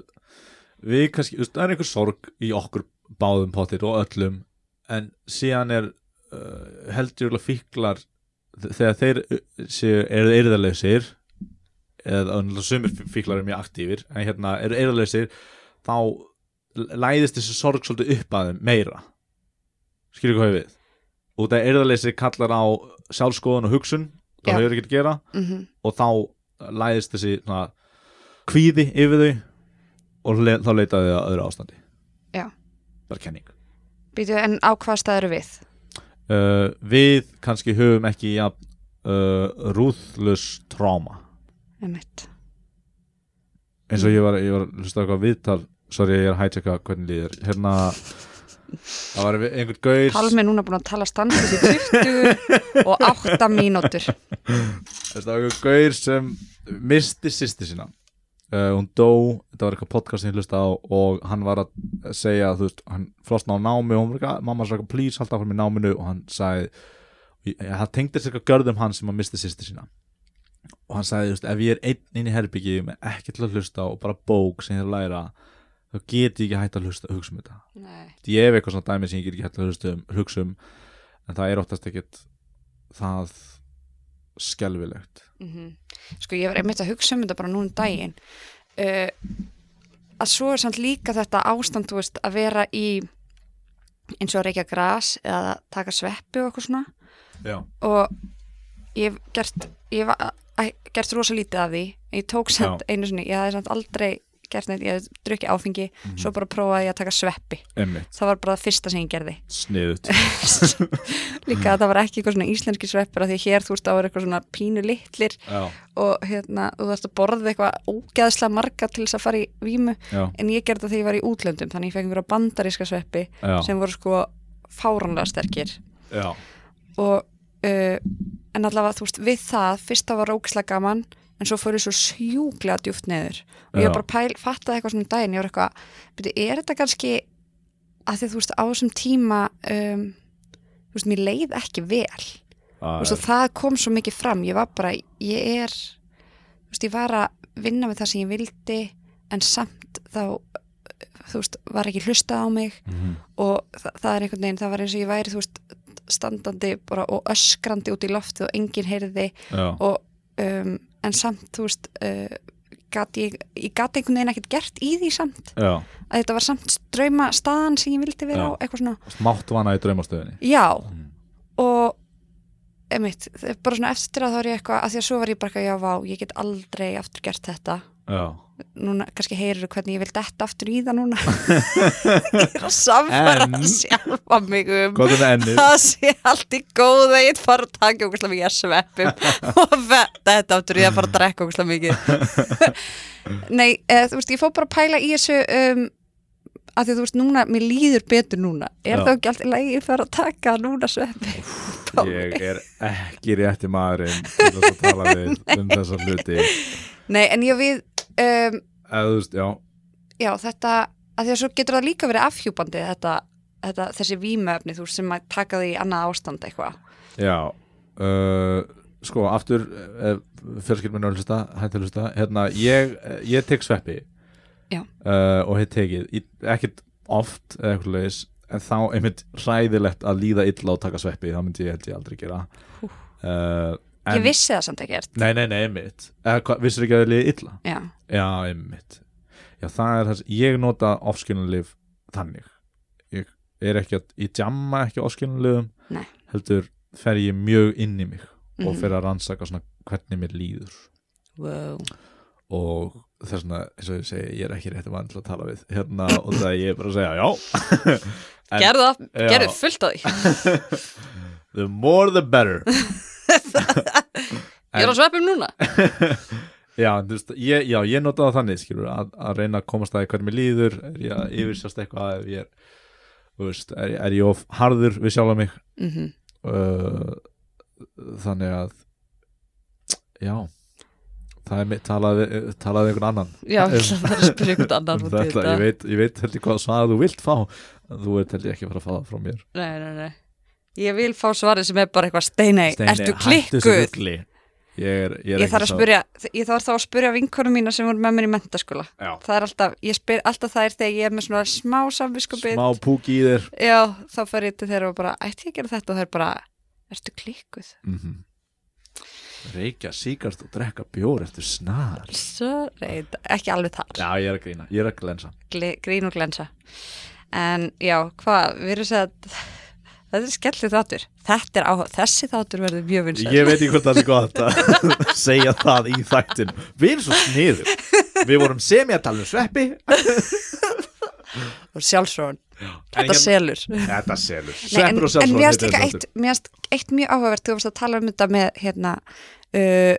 [SPEAKER 2] við kannski, þú veist, það er einhver sorg í okkur báðum pottir og öllum en síðan er uh, heldur fíklar þ- þegar þeir uh, séu, eru eyrðarleysir eða önnlega sumir fí- fíklar eru mjög aktífir en hérna eru eyrðarleysir þá l- læðist þessi sorg svolítið upp að þeim meira skilur hvað ég við og það eyrðarleysi kallar á sjálfskoðun og hugsun
[SPEAKER 1] Já.
[SPEAKER 2] það hefur ekki að gera
[SPEAKER 1] mm
[SPEAKER 2] og þá læðist þessi svona, kvíði yfir þau og le þá leitaðu þau að öðru ástandi
[SPEAKER 1] Já.
[SPEAKER 2] bara kenning
[SPEAKER 1] Býtu en á hvað staður við
[SPEAKER 2] uh, við kannski höfum ekki ja, uh, rúðlös tráma
[SPEAKER 1] einmitt,
[SPEAKER 2] eins og ég var, ég var að hlusta á eitthvað viðtal sorry ég er að hætjaka hvernig líður hérna það var við- einhver gaur
[SPEAKER 1] Palmi er núna búin að tala stansið í 20 og 8 mínútur
[SPEAKER 2] Þetta var einhver gaur sem misti sýsti sína uh, hún dó, þetta var eitthvað podcast sem ég hlusta á og hann var að segja þú veist, hann flosna á námi og hún var eitthvað mamma sagði, please, halda áfram í náminu og hann sagði, eh, það tengdi sér eitthvað görðum hann sem að misti sýsti sína og hann sagði, þú veist, ef ég er einn inn í herbyggi með ekki til að hlusta og bara bók sem ég er að læra, þá get ég ekki hægt að hlusta að hugsa um þetta
[SPEAKER 1] Nei.
[SPEAKER 2] ég hef eitthvað svona dæmi sem ég get ekki hægt að hugsa um, hugsa um en það er oftast ekkit það skelfilegt
[SPEAKER 1] Mhm. Sko ég var einmitt að hugsa um þetta bara núna um daginn uh, að svo er samt líka þetta ástand þú veist að vera í eins og að reykja gras eða að taka sveppi og eitthvað svona
[SPEAKER 2] Já,
[SPEAKER 1] og ég hef gert ég hef a- a- gert rosa lítið af því en ég tók samt einu sinni, ég hafði samt aldrei gert neitt, ég hafði drukkið áfengi svo bara prófaði ég að taka sveppi
[SPEAKER 2] emmitt,
[SPEAKER 1] það var bara það fyrsta sem ég gerði
[SPEAKER 2] [laughs] sniðut Mm.
[SPEAKER 1] líka að það var ekki eitthvað svona íslenski sveppur af því að hér þú veist á er eitthvað svona pínu litlir
[SPEAKER 2] Já,
[SPEAKER 1] og hérna, þú þarfst að borða eitthvað ógeðslega marga til þess að fara í vímu
[SPEAKER 2] já,
[SPEAKER 1] en ég gerði það þegar ég var í útlöndum þannig ég fekk einhverja bandaríska sveppi
[SPEAKER 2] já,
[SPEAKER 1] sem voru sko fáránlega sterkir
[SPEAKER 2] já,
[SPEAKER 1] og uh, en allavega þú veist, við það fyrst það var ógeðslega gaman en svo fór ég svo sjúklega djúft neður og ég
[SPEAKER 2] Já.
[SPEAKER 1] var bara pæl, fattaði eitthvað svona um daginn ég var eitthvað, byrju, er þetta kannski að því að þú veist, á þessum tíma um, þú veist, mér leið ekki vel
[SPEAKER 2] já,
[SPEAKER 1] og svo það kom svo mikið fram ég var bara, ég er þú veist, ég var að vinna með það sem ég vildi en samt þá þú veist, var ekki hlustað á mig
[SPEAKER 2] Mhm.
[SPEAKER 1] og það, það er einhvern veginn það var eins og ég væri, þú veist, standandi bara og öskrandi út í loftið og enginn heyrði
[SPEAKER 2] já,
[SPEAKER 1] og um, en samt, þú veist uh, gat ég, ég gat einhvern veginn ekkert gert í því samt,
[SPEAKER 2] já,
[SPEAKER 1] að þetta var samt drauma staðan sem ég vildi vera
[SPEAKER 2] Já.
[SPEAKER 1] á, eitthvað svona
[SPEAKER 2] máttu hana í draumastöðinni
[SPEAKER 1] já,
[SPEAKER 2] Mm.
[SPEAKER 1] og einmitt, það er bara svona eftir að þá er ég eitthvað að því að svo var ég bara eitthvað, já vá, ég get aldrei aftur gert þetta,
[SPEAKER 2] Já,
[SPEAKER 1] núna kannski heyrur hvernig ég vil detta aftur í það
[SPEAKER 2] [laughs]
[SPEAKER 1] núna [laughs] ég er að samfara
[SPEAKER 2] En- Sko,
[SPEAKER 1] sjálfa mig um
[SPEAKER 2] hvað er með [laughs] ennið?
[SPEAKER 1] það sé allt í góð að ég fara að taka okkur mikið að sveppum og vetta þetta aftur í að fara að drekka okkur mikið
[SPEAKER 2] [laughs]
[SPEAKER 1] nei, eða, þú veist, ég fór bara að pæla í þessu um, að því að þú veist, núna, mér líður betur núna er
[SPEAKER 2] Já.
[SPEAKER 1] það ekki allt í lagi að fara að taka núna sveppi [laughs]
[SPEAKER 2] Ég er ekki rétti maðurinn til þess að tala við um þessa hluti
[SPEAKER 1] Nei, en ég við, um,
[SPEAKER 2] eða þú veist, já,
[SPEAKER 1] já, þetta, að því að svo getur það líka verið afhjúpandi, þetta, þetta, þessi vímöfni, þú veist, sem að taka því í annað ástand eitthvað.
[SPEAKER 2] já uh, sko, aftur fjörskil minn að hlusta, hætti að hlusta hérna, ég, ég tek sveppi
[SPEAKER 1] Já.
[SPEAKER 2] uh, og hef tekið í- ekkert oft eða eitthvað leis en þá einmitt hræðilegt að líða illa og taka sveppi, það myndi ég held ég aldrei gera uh, en-
[SPEAKER 1] ég vissi það samt ekkert.
[SPEAKER 2] Nei, nei, nei, einmitt Eða, hva, Vissir ekki að það liði illa?
[SPEAKER 1] Já,
[SPEAKER 2] Já, einmitt Já, það er þess, ég nota ofskilunlif þannig ég er ekki að, ég jamma ekki áskilulegum,
[SPEAKER 1] Nei.
[SPEAKER 2] heldur fer ég mjög inn í mig og
[SPEAKER 1] Mhm.
[SPEAKER 2] fer að rannsaka svona hvernig mér líður
[SPEAKER 1] wow.
[SPEAKER 2] og þess vegna, eins og ég segi, ég er ekki rétti mann til að tala við hérna og það ég er bara að segja, já En-
[SPEAKER 1] gerðu það,
[SPEAKER 2] Já.
[SPEAKER 1] gerðu fullt á því
[SPEAKER 2] the more the better
[SPEAKER 1] ég er á sveppum núna
[SPEAKER 2] já, en þú veist, ég, já, ég nota það þannig skilur, að, að reyna að komast að því hvernig mér líður er ég að yfirsjást eitthvað ef ég er, þú veist, er, er ég of harður við sjálfa mig
[SPEAKER 1] mm
[SPEAKER 2] uh, þannig að já það er mitt talaði, talaði einhvern annan
[SPEAKER 1] já, ég ætla að vera að spyrja einhvern annan
[SPEAKER 2] Um
[SPEAKER 1] út í
[SPEAKER 2] þetta, ég veit, ég veit heldur hvað svar þú vilt fá en þú veit heldur ekki að fara að fá það frá mér
[SPEAKER 1] nei, nei, nei. ég vil fá svarið sem er bara eitthvað steinei,
[SPEAKER 2] Steini,
[SPEAKER 1] ertu
[SPEAKER 2] hættu þessu
[SPEAKER 1] klikkuð
[SPEAKER 2] rugli. ég er, ég er
[SPEAKER 1] ég
[SPEAKER 2] ekki
[SPEAKER 1] þarf að
[SPEAKER 2] sá-
[SPEAKER 1] spyrja, ég þarf þá að spyrja vinkonum mína sem voru með mér í mentaskóla
[SPEAKER 2] Já.
[SPEAKER 1] það er alltaf, ég spyr alltaf það er þegar ég er með svona smá samviskupið
[SPEAKER 2] smá púk í þér
[SPEAKER 1] já, þá fer ég til þeirra og bara ætti ég að gera þetta og það er bara, ertu klikkuð
[SPEAKER 2] mm -hmm. reykja síkart og drekka bjór eftir snar
[SPEAKER 1] sorry, ekki alveg þar
[SPEAKER 2] já, ég er að grína, ég er að glensa
[SPEAKER 1] Gli, grín og glensa en já, hvað, við erum sér að þetta er skellið þáttur þetta er áhuga, þessi þáttur verður mjög vinsæll
[SPEAKER 2] ég veit ekki hvort það er gott að [laughs] segja það í þættin við erum svo sniður við vorum semi að tala um sveppi
[SPEAKER 1] og sjálfsróun,
[SPEAKER 2] En
[SPEAKER 1] þetta selur
[SPEAKER 2] þetta selur
[SPEAKER 1] Nei, en,
[SPEAKER 2] sveppur
[SPEAKER 1] en
[SPEAKER 2] og sjálfsvon
[SPEAKER 1] mér erst líka eitt, mér erst eitt mjög áhugavert þú varst að tala um þetta með hérna, uh,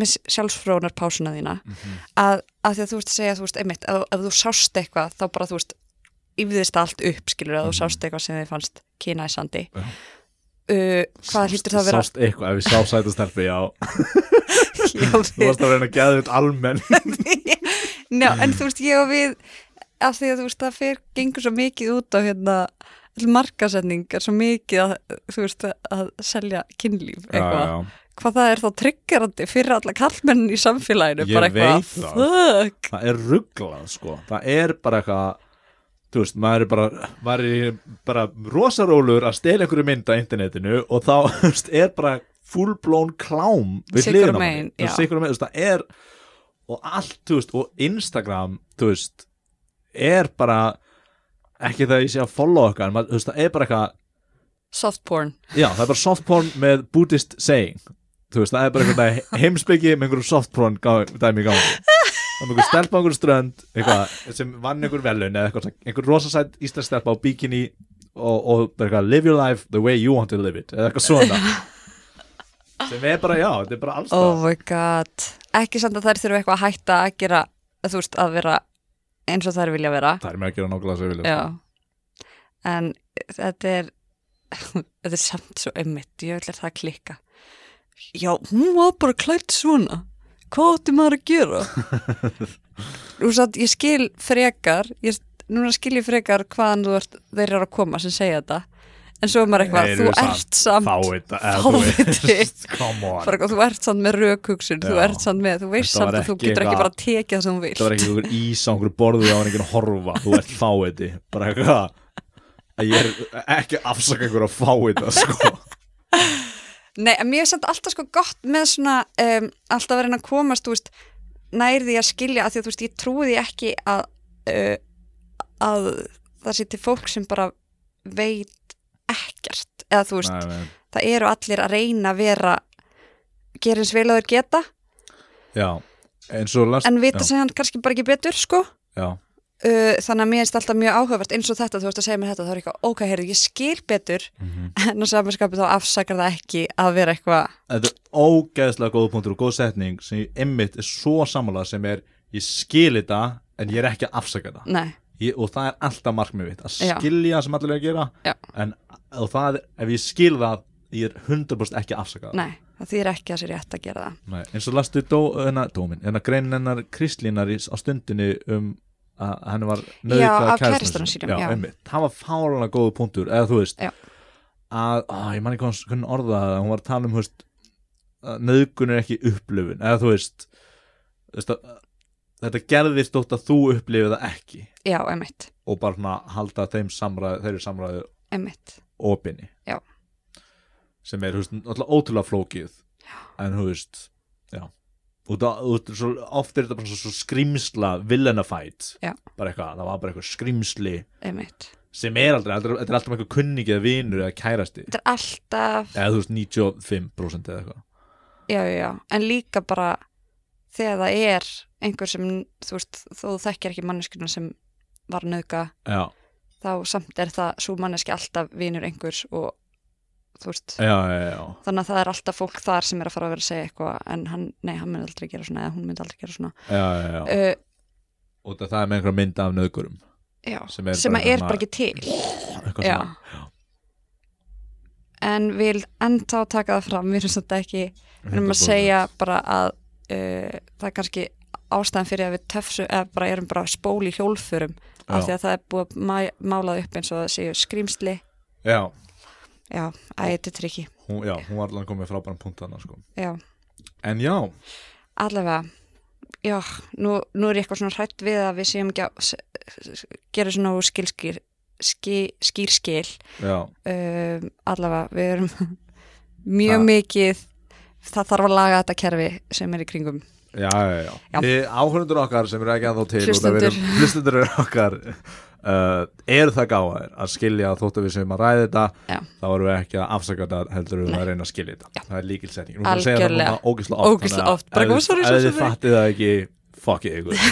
[SPEAKER 1] með sjálfsfrónar pásuna þína
[SPEAKER 2] Mhm.
[SPEAKER 1] að, að því að þú veist að segja þú veist, einmitt, ef, ef þú sást eitthvað þá bara þú veist, yfðist allt upp skilur að þú sást eitthvað sem þið fannst kynæsandi
[SPEAKER 2] Mhm. Já.
[SPEAKER 1] uh, hvað hlýtur það að vera
[SPEAKER 2] sást eitthvað, ef við sá sætastelpi já,
[SPEAKER 1] [laughs] Já,
[SPEAKER 2] þú varst að reyna að geða þetta almenn
[SPEAKER 1] [laughs] við- Njá, en þú veist, ég og við af því að þú veist, það fer gengur svo mikið út á hérna markasetningar svo mikið að, þú veist, að selja kynlíf eitthvað hvað það er þá tryggjandi fyrir alla kallmennin í samfélaginu
[SPEAKER 2] Ég
[SPEAKER 1] bara eitthvað,
[SPEAKER 2] veit það.
[SPEAKER 1] fuck
[SPEAKER 2] það er rugglað sko það er bara eitthvað þú veist, maður er bara, maður er bara rosarólur að stela einhverju mynd á internetinu og þá [laughs] þú veist, er bara full blown klám við
[SPEAKER 1] Sikur
[SPEAKER 2] hliðina á
[SPEAKER 1] megin,
[SPEAKER 2] manni. Þú
[SPEAKER 1] já.
[SPEAKER 2] veist, sikur megin, þú veist, það er og allt, þú veist, og Instagram þú veist, er bara ekki það ég sé að follow okkar, en maður, þú veist, það er bara eitthvað
[SPEAKER 1] soft porn
[SPEAKER 2] Já, það er bara soft porn með buddhist saying Þú veist, það er bara einhvern heimsbyggi með einhverjum soft porn gá- dæmi í gangi Það er einhver stelpa á einhverjum strönd eitthvað, sem vann einhver velun eða eitthvað, einhver rosasætt íslensk stelpa á bikini og, og bara eitthvað, live your life the way you want to live it eða eitthvað svona sem er bara, já, þetta er bara alls
[SPEAKER 1] oh
[SPEAKER 2] oh.
[SPEAKER 1] my god, ekki samt að þær þurfa eitthvað að hætta að gera, þú veist, að vera eins og þær vilja vera
[SPEAKER 2] Það er mér að gera nákvæmlega sem ég vilja
[SPEAKER 1] Já. en þetta er [laughs] þetta er samt svo einmitt ég vil er það að klikka já, hún var bara klætt svona hvað átti maður að
[SPEAKER 2] [laughs]
[SPEAKER 1] gera þú veist að ég skil frekar ég, núna skil ég frekar hvaðan þú ert þeir eru að koma sem segja þetta en svo er maður eitthvað,
[SPEAKER 2] Þeir
[SPEAKER 1] þú
[SPEAKER 2] eru samt
[SPEAKER 1] ert samt
[SPEAKER 2] Fáviti eða þú
[SPEAKER 1] Fáviti.
[SPEAKER 2] veist, [laughs] Come on
[SPEAKER 1] bara, eitthvað, þú ert samt með rökhugsun þú
[SPEAKER 2] Já.
[SPEAKER 1] ert samt með, þú veist
[SPEAKER 2] Þetta var
[SPEAKER 1] samt að þú
[SPEAKER 2] ekki
[SPEAKER 1] getur ekki
[SPEAKER 2] eitthvað-
[SPEAKER 1] bara að tekið það sem þú vilt
[SPEAKER 2] það var ekki einhver ís á einhverju borðu á einhvern horfa, þú ert fáiði bara eitthvað að ég er ekki að afsaka einhver að fáiða
[SPEAKER 1] [laughs]
[SPEAKER 2] sko.
[SPEAKER 1] Nei, en mér er samt alltaf sko gott með svona um, alltaf að reyna að komast, þú veist nær því að skilja, af því að þú veist, ég trúi því ekki að uh, að það sé til fólk sem bara veit ekkert eða þú veist,
[SPEAKER 2] nei, nei.
[SPEAKER 1] það eru allir að reyna að vera gera eins vel að þeir geta,
[SPEAKER 2] já, en svo last
[SPEAKER 1] en vita
[SPEAKER 2] já,
[SPEAKER 1] sem hann kannski bara ekki betur, sko
[SPEAKER 2] já,
[SPEAKER 1] Uh, þannig að mér finnst alltaf mjög áhugavert eins og þetta, þú veist að segja mér þetta, þá er eitthvað ok, heyrðu, ég skil betur
[SPEAKER 2] Mhm.
[SPEAKER 1] [laughs] en á samanskapi þá afsakar það ekki að vera eitthvað
[SPEAKER 2] þetta er ógeðslega góð punktur og góð setning sem ég einmitt er svo samanlega sem er ég skil þetta en ég er ekki að afsaka þetta
[SPEAKER 1] nei,
[SPEAKER 2] ég, og það er alltaf markmið mitt að
[SPEAKER 1] Mm. Já.
[SPEAKER 2] skilja sem allir er að gera
[SPEAKER 1] Já.
[SPEAKER 2] en og það, er- ef ég skil það ég er 100% ekki að afsaka það
[SPEAKER 1] nei, það þýr ekki að sér rétt að gera það
[SPEAKER 2] Nei, eins og lastu dó, hennar, dómin, hennar greinin hennar Kristlínar í- á stundinni um að henni var
[SPEAKER 1] Já,
[SPEAKER 2] nöðgað
[SPEAKER 1] af kærastanum sínum, já.
[SPEAKER 2] Einmitt, það var fálanlega góðu punktur, eða þú veist
[SPEAKER 1] Já.
[SPEAKER 2] að, á, ég man ekki hvað hún- hvernig orða það, hún var að tala um, þú veist nöðgun er ekki upplöfun, eða þú veist, þú veist að, þetta gerðist þótt að þú upplifið það ekki
[SPEAKER 1] Já, emitt,
[SPEAKER 2] og bara svona halda þeim samræðu, þeirri samræðu
[SPEAKER 1] emitt
[SPEAKER 2] opinni
[SPEAKER 1] Já.
[SPEAKER 2] sem er, þú veist, náttúrulega ótrúlega flókið en, þú veist, já út á, út, svo, oft er þetta bara svo, svo skrimsla villanafight
[SPEAKER 1] Já.
[SPEAKER 2] bara eitthvað, það var bara eitthvað skrimsli
[SPEAKER 1] einmitt
[SPEAKER 2] sem er aldrei, aldrei þetta er alltaf eitthvað kunningi eða vinur eða kærasti
[SPEAKER 1] þetta er alltaf,
[SPEAKER 2] eða þú veist 95% eða eitthvað
[SPEAKER 1] já, já, já en líka bara þegar það er einhver sem, þú veist, þó þú þekkir ekki manneskuna sem var að nöðga
[SPEAKER 2] já,
[SPEAKER 1] þá samt er það svo manneski alltaf vinur einhvers og þú veist,
[SPEAKER 2] já, já, já,
[SPEAKER 1] þannig að það er alltaf fólk þar sem er að fara að vera að segja eitthvað en hann, nei, hann myndi aldrei gera svona eða hún myndi aldrei gera svona
[SPEAKER 2] já, já, já.
[SPEAKER 1] uh,
[SPEAKER 2] og það er með einhver mynd af nöðgurum
[SPEAKER 1] já,
[SPEAKER 2] Sem er
[SPEAKER 1] sem
[SPEAKER 2] bara
[SPEAKER 1] að er
[SPEAKER 2] hérna svona-
[SPEAKER 1] bara ekki til
[SPEAKER 2] eitthvað
[SPEAKER 1] Já.
[SPEAKER 2] svona.
[SPEAKER 1] en vil enda taka það fram við erum svolítið ekki, við erum að
[SPEAKER 2] 100%.
[SPEAKER 1] segja bara að uh, það er kannski ástæðan fyrir að við töfsu eða bara erum bara spól í hjólfurum af
[SPEAKER 2] Já.
[SPEAKER 1] því að það er búið að ma- málað upp eins og það séu skrýmsli
[SPEAKER 2] já,
[SPEAKER 1] já, æ, þetta er trikki
[SPEAKER 2] hún, já, hún var allan komið frábæran punkt þarna sko.
[SPEAKER 1] já,
[SPEAKER 2] en já,
[SPEAKER 1] allavega já, nú, nú er ég eitthvað svona hrætt við að við séum ekki að s- s- gera svona skilskir ski, skýrskil
[SPEAKER 2] já,
[SPEAKER 1] um, allavega, við erum [laughs] mjög
[SPEAKER 2] Það-
[SPEAKER 1] mikið það þarf að laga þetta kerfi sem er í kringum
[SPEAKER 2] já, já, já.
[SPEAKER 1] Já.
[SPEAKER 2] Þið áhörundur okkar sem eru ekki að þá til út af við erum-
[SPEAKER 1] Hlustendur.
[SPEAKER 2] hlustendur eru okkar uh, eru það gáðaðir að skilja að þótt að við séum að ræða þetta
[SPEAKER 1] Já.
[SPEAKER 2] þá erum við ekki að afsaka þetta heldur við
[SPEAKER 1] Nei.
[SPEAKER 2] að reyna að skilja þetta
[SPEAKER 1] Já.
[SPEAKER 2] það er líkilsetning, nú erum við að segja það
[SPEAKER 1] Algjörlega.
[SPEAKER 2] núna ógislega oft
[SPEAKER 1] Ógeðslega
[SPEAKER 2] þannig að
[SPEAKER 1] oft. Bara
[SPEAKER 2] ef
[SPEAKER 1] kom,
[SPEAKER 2] þið-
[SPEAKER 1] sorry,
[SPEAKER 2] ef
[SPEAKER 1] sorry,
[SPEAKER 2] þið
[SPEAKER 1] sorry.
[SPEAKER 2] fattið það ekki, fuckið ykkur
[SPEAKER 1] [laughs]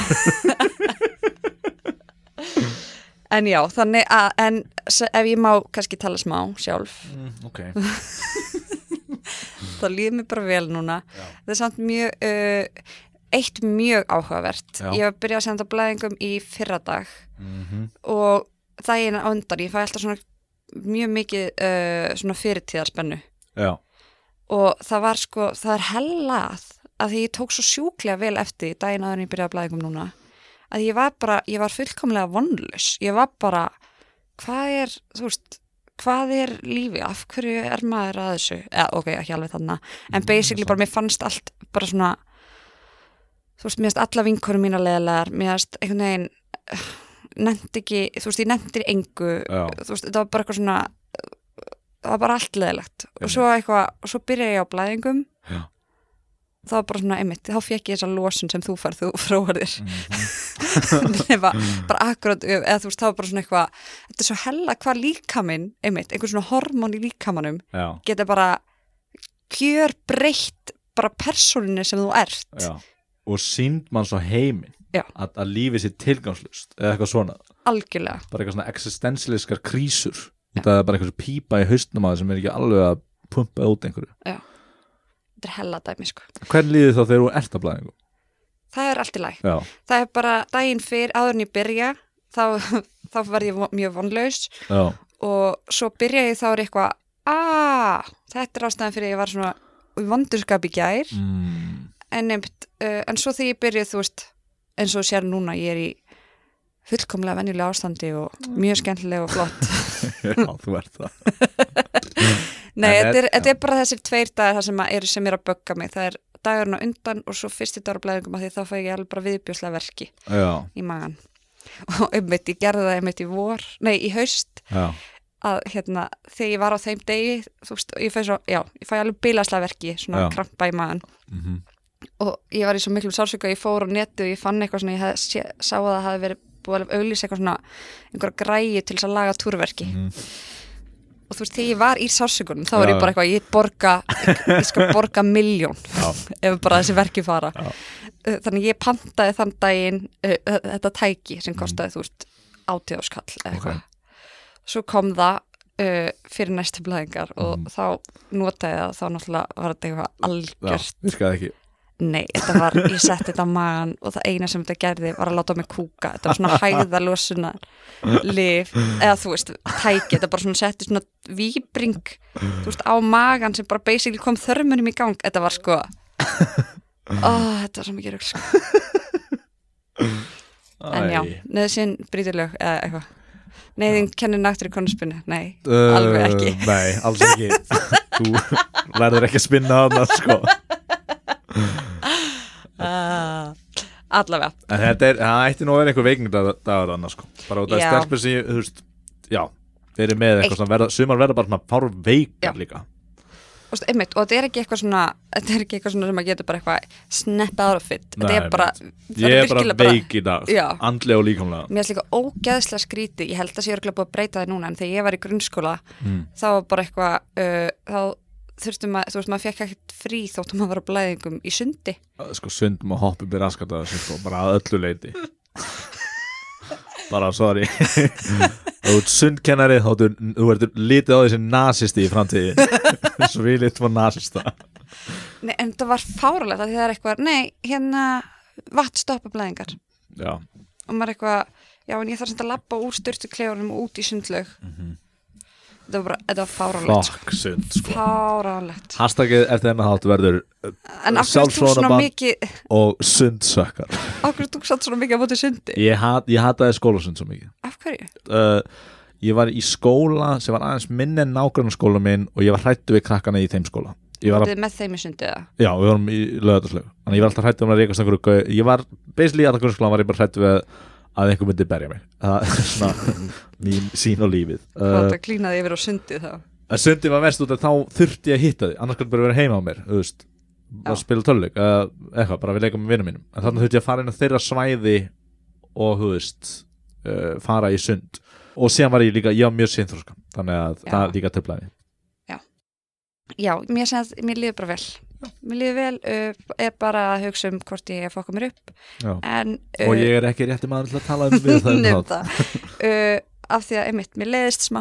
[SPEAKER 1] en já, þannig að en, s- ef ég má kannski tala smá sjálf
[SPEAKER 2] Mm, ok,
[SPEAKER 1] þá líður mér bara vel núna
[SPEAKER 2] Já.
[SPEAKER 1] það er samt mjög uh, eitt mjög áhugavert
[SPEAKER 2] Já.
[SPEAKER 1] ég var að byrja að senda blæðingum í fyrradag
[SPEAKER 2] Mhm.
[SPEAKER 1] og daginn á undan ég fæ alltaf svona mjög mikið uh, svona fyrirtíðarspennu
[SPEAKER 2] já,
[SPEAKER 1] og það var sko, það er hellað að því ég tók svo sjúklega vel eftir því daginn aður en ég byrjaði að blæðingum núna að ég var bara, ég var fullkomlega vonlaus ég var bara, hvað er þú veist, hvað er lífi af hverju er maður að þessu eða, ok, ekki alveg þarna, en basically bara mér fannst allt bara svona þú veist, mér finnst alla vinkonum mína leðilegar mér finnst einhvern veginn [sighs] nefndi ekki, þú veist, ég nefndi engu
[SPEAKER 2] Já.
[SPEAKER 1] þú veist, þetta var bara eitthvað svona það var bara allt leðilegt og svo eitthvað, og svo byrja ég á blæðingum
[SPEAKER 2] Já.
[SPEAKER 1] það var bara svona einmitt þá fekk ég þessa losun sem þú [laughs] færð, þú fróar þér [laughs] nema bara akkurat, eða þú veist, það var bara svona eitthvað þetta er svo hella hvað líkaminn einmitt, einhver svona hormón í líkamanum
[SPEAKER 2] já,
[SPEAKER 1] geta bara gjör breytt bara persóninni sem þú ert
[SPEAKER 2] já og sínd mann svo heiminn
[SPEAKER 1] Já.
[SPEAKER 2] að, að lífið sér tilgangslust eða eitthvað svona,
[SPEAKER 1] algjörlega,
[SPEAKER 2] bara eitthvað svona existensialiskar krísur út að það er bara eitthvað pípa í haustnum að það sem er ekki alveg að pumpa út einhverju
[SPEAKER 1] þetta er hella dæmi sko.
[SPEAKER 2] Hvern líði þá þegar þú ert að blæðingu?
[SPEAKER 1] það er allt í læg,
[SPEAKER 2] Já,
[SPEAKER 1] það er bara daginn fyrr áður en ég byrja þá, [laughs] þá verð ég von- mjög vonlaus
[SPEAKER 2] já,
[SPEAKER 1] og svo byrja ég þá er eitthvað aaa, þetta er ástæðan fyrir að ég var svona í vandurskap í gær
[SPEAKER 2] mm,
[SPEAKER 1] en, nefnt, uh, en svo þegar ég byrja þú veist, eins og þú sér núna ég er í fullkomlega venjulega ástandi og mjög skemmtilega og flott
[SPEAKER 2] [laughs]
[SPEAKER 1] [laughs]
[SPEAKER 2] já þú ert það
[SPEAKER 1] Nei,
[SPEAKER 2] En
[SPEAKER 1] þetta er,
[SPEAKER 2] þetta-
[SPEAKER 1] þetta er bara þessir tveir dagar það sem að eru sem er að bögga mig það er dagurinn á undan og svo fyrsti dagur á blæðingum að því þá fæ ég alveg bara viðbjóslega verki
[SPEAKER 2] Já,
[SPEAKER 1] í magan [laughs] og einmitt, ég gerði það einmitt í vor nei, í haust
[SPEAKER 2] já,
[SPEAKER 1] að hérna, þegar ég var á þeim degi þú veist, og ég fæ svo, já, ég fæ alveg bílaslega verki svona
[SPEAKER 2] Já.
[SPEAKER 1] krampa í magan
[SPEAKER 2] mhm,
[SPEAKER 1] og ég var í svo miklu sársöku að ég fór á netu og ég fann eitthvað svona, ég hef, sé, sá að það hafi verið búið að auðlýsa eitthvað svona einhverja græju til þess að laga túrverki
[SPEAKER 2] Mhm.
[SPEAKER 1] og þú veist, þegar ég var í sársökunum þá var
[SPEAKER 2] Já,
[SPEAKER 1] ég bara
[SPEAKER 2] já.
[SPEAKER 1] eitthvað, ég borga ég skal borga miljón
[SPEAKER 2] Já.
[SPEAKER 1] [laughs] ef bara þessi verki fara
[SPEAKER 2] Já.
[SPEAKER 1] Uh, þannig ég pantaði þann daginn uh, þetta tæki sem kostaði þú veist átíðáskall eða eitthvað
[SPEAKER 2] Mhm. Ok.
[SPEAKER 1] svo kom það uh, fyrir næstu blæðingar og þá notaði ég það þá náttúrulega var þetta eitthvað
[SPEAKER 2] Mhm. já,
[SPEAKER 1] algjört
[SPEAKER 2] virkaði ekki
[SPEAKER 1] Nei, þetta var, ég setti þetta á magan og það eina sem þetta gerði var að láta mig kúka þetta var svona hæðalosuna lif, eða þú veist, tæki þetta bara svona setti svona víbring þú veist, á magan sem bara basically kom þörmunum í gang, þetta var sko ó, þetta var svo mikið rugl sko. en já,
[SPEAKER 2] Æ.
[SPEAKER 1] neðsinn brítilög eða eitthvað, neyðin kennir náttur í konarspinnu, nei,
[SPEAKER 2] Uh,
[SPEAKER 1] alveg ekki
[SPEAKER 2] [laughs] Nei,
[SPEAKER 1] [laughs]
[SPEAKER 2] alls ekki Þú lærður ekki að spinna hana sko.
[SPEAKER 1] uh, allavega,
[SPEAKER 2] En þetta er, það ætti nú að vera einhver veikindagur annars sko. bara út af
[SPEAKER 1] Já.
[SPEAKER 2] stelpur sem ég, þú veist já, þeir eru með
[SPEAKER 1] Eitt.
[SPEAKER 2] eitthvað svona verða, sumar verða bara svona fár
[SPEAKER 1] Já.
[SPEAKER 2] veikar líka
[SPEAKER 1] og, stu- einmitt, og þetta er ekki eitthvað svona þetta er ekki eitthvað svona sem að geta bara eitthvað snap out of it þetta er
[SPEAKER 2] Nei,
[SPEAKER 1] bara, þetta
[SPEAKER 2] Ég er bara
[SPEAKER 1] virkilega
[SPEAKER 2] veik í dag, sko.
[SPEAKER 1] Já.
[SPEAKER 2] andlega og líkamlega
[SPEAKER 1] mér er líka ógeðslega skríti ég held að það sé örgulega búið að breyta það núna en þegar ég var í grunnskóla þá var bara eitthvað uh, þá þurftum að, þú veist, maður fekk ekkert frí þóttum að vera blæðingum í sundi
[SPEAKER 2] Sko sundum og hoppum í raskat að þessu sko, bara að öllu leiti Bara
[SPEAKER 1] [laughs]
[SPEAKER 2] sorry Þú ert sundkennari þá ertu- þú ertur litið á þessi nasisti í framtíði [laughs] Svo við litum á nasista
[SPEAKER 1] nei, en það var fáralegt að því það er eitthvað nei, hérna, vatn stoppa blæðingar
[SPEAKER 2] Já,
[SPEAKER 1] og maður er eitthvað, já en ég þarf samt að labba úr styrtu klefunum og út í sundlaug þetta var bara, þetta var fáralegt sko.
[SPEAKER 2] fokk sund sko
[SPEAKER 1] fáralegt
[SPEAKER 2] Hashtagið eftir hennar þátt verður
[SPEAKER 1] en af hverju þú svona
[SPEAKER 2] Sjálfsfróðunarbann.
[SPEAKER 1] mikið
[SPEAKER 2] og sundsökkar
[SPEAKER 1] af hverju þú satt svona mikið á móti sundi
[SPEAKER 2] Ég, hat, ég hataði skólasund svo mikið
[SPEAKER 1] af hverju?
[SPEAKER 2] uh, ég var í skóla sem var aðeins minni en nágrannskóla minn og ég var hrættu við krakkana í þeim skóla ég var að,
[SPEAKER 1] Þið er með þeim í sundi eða?
[SPEAKER 2] já, við vorum í lögðarslegu þannig ég var alltaf hrættu um að reikast einhverju gau- ég var, basically í alltaf grunnskóla var ég bara hrættu við að einhver myndi berja mig það er
[SPEAKER 1] [laughs]
[SPEAKER 2] svona mín sín og lífið
[SPEAKER 1] Þú
[SPEAKER 2] uh,
[SPEAKER 1] átt að klína þig yfir á sundi þá
[SPEAKER 2] að sundi var verst út að þá þurfti ég að hitta því annars kannski bara vera heima á mér, þú veist að
[SPEAKER 1] Já.
[SPEAKER 2] spila töluleik, uh, eitthvað, bara við leikum með vinnum mínum en þannig þurfti ég að fara inn á þeirra svæði og, þú veist uh, fara í sund og síðan var ég líka, ég var mjög sínþróska þannig að
[SPEAKER 1] Já.
[SPEAKER 2] það líka töflaði
[SPEAKER 1] Já, mér, sem, sagt- mér líður bara vel Mér líður vel, uh, er bara að hugsa um hvort ég fokka mér upp
[SPEAKER 2] Já.
[SPEAKER 1] en, uh,
[SPEAKER 2] og ég er ekki rétti maður til að tala um við það,
[SPEAKER 1] [laughs] nefn
[SPEAKER 2] um
[SPEAKER 1] það uh, af því að einmitt, mér leiðist smá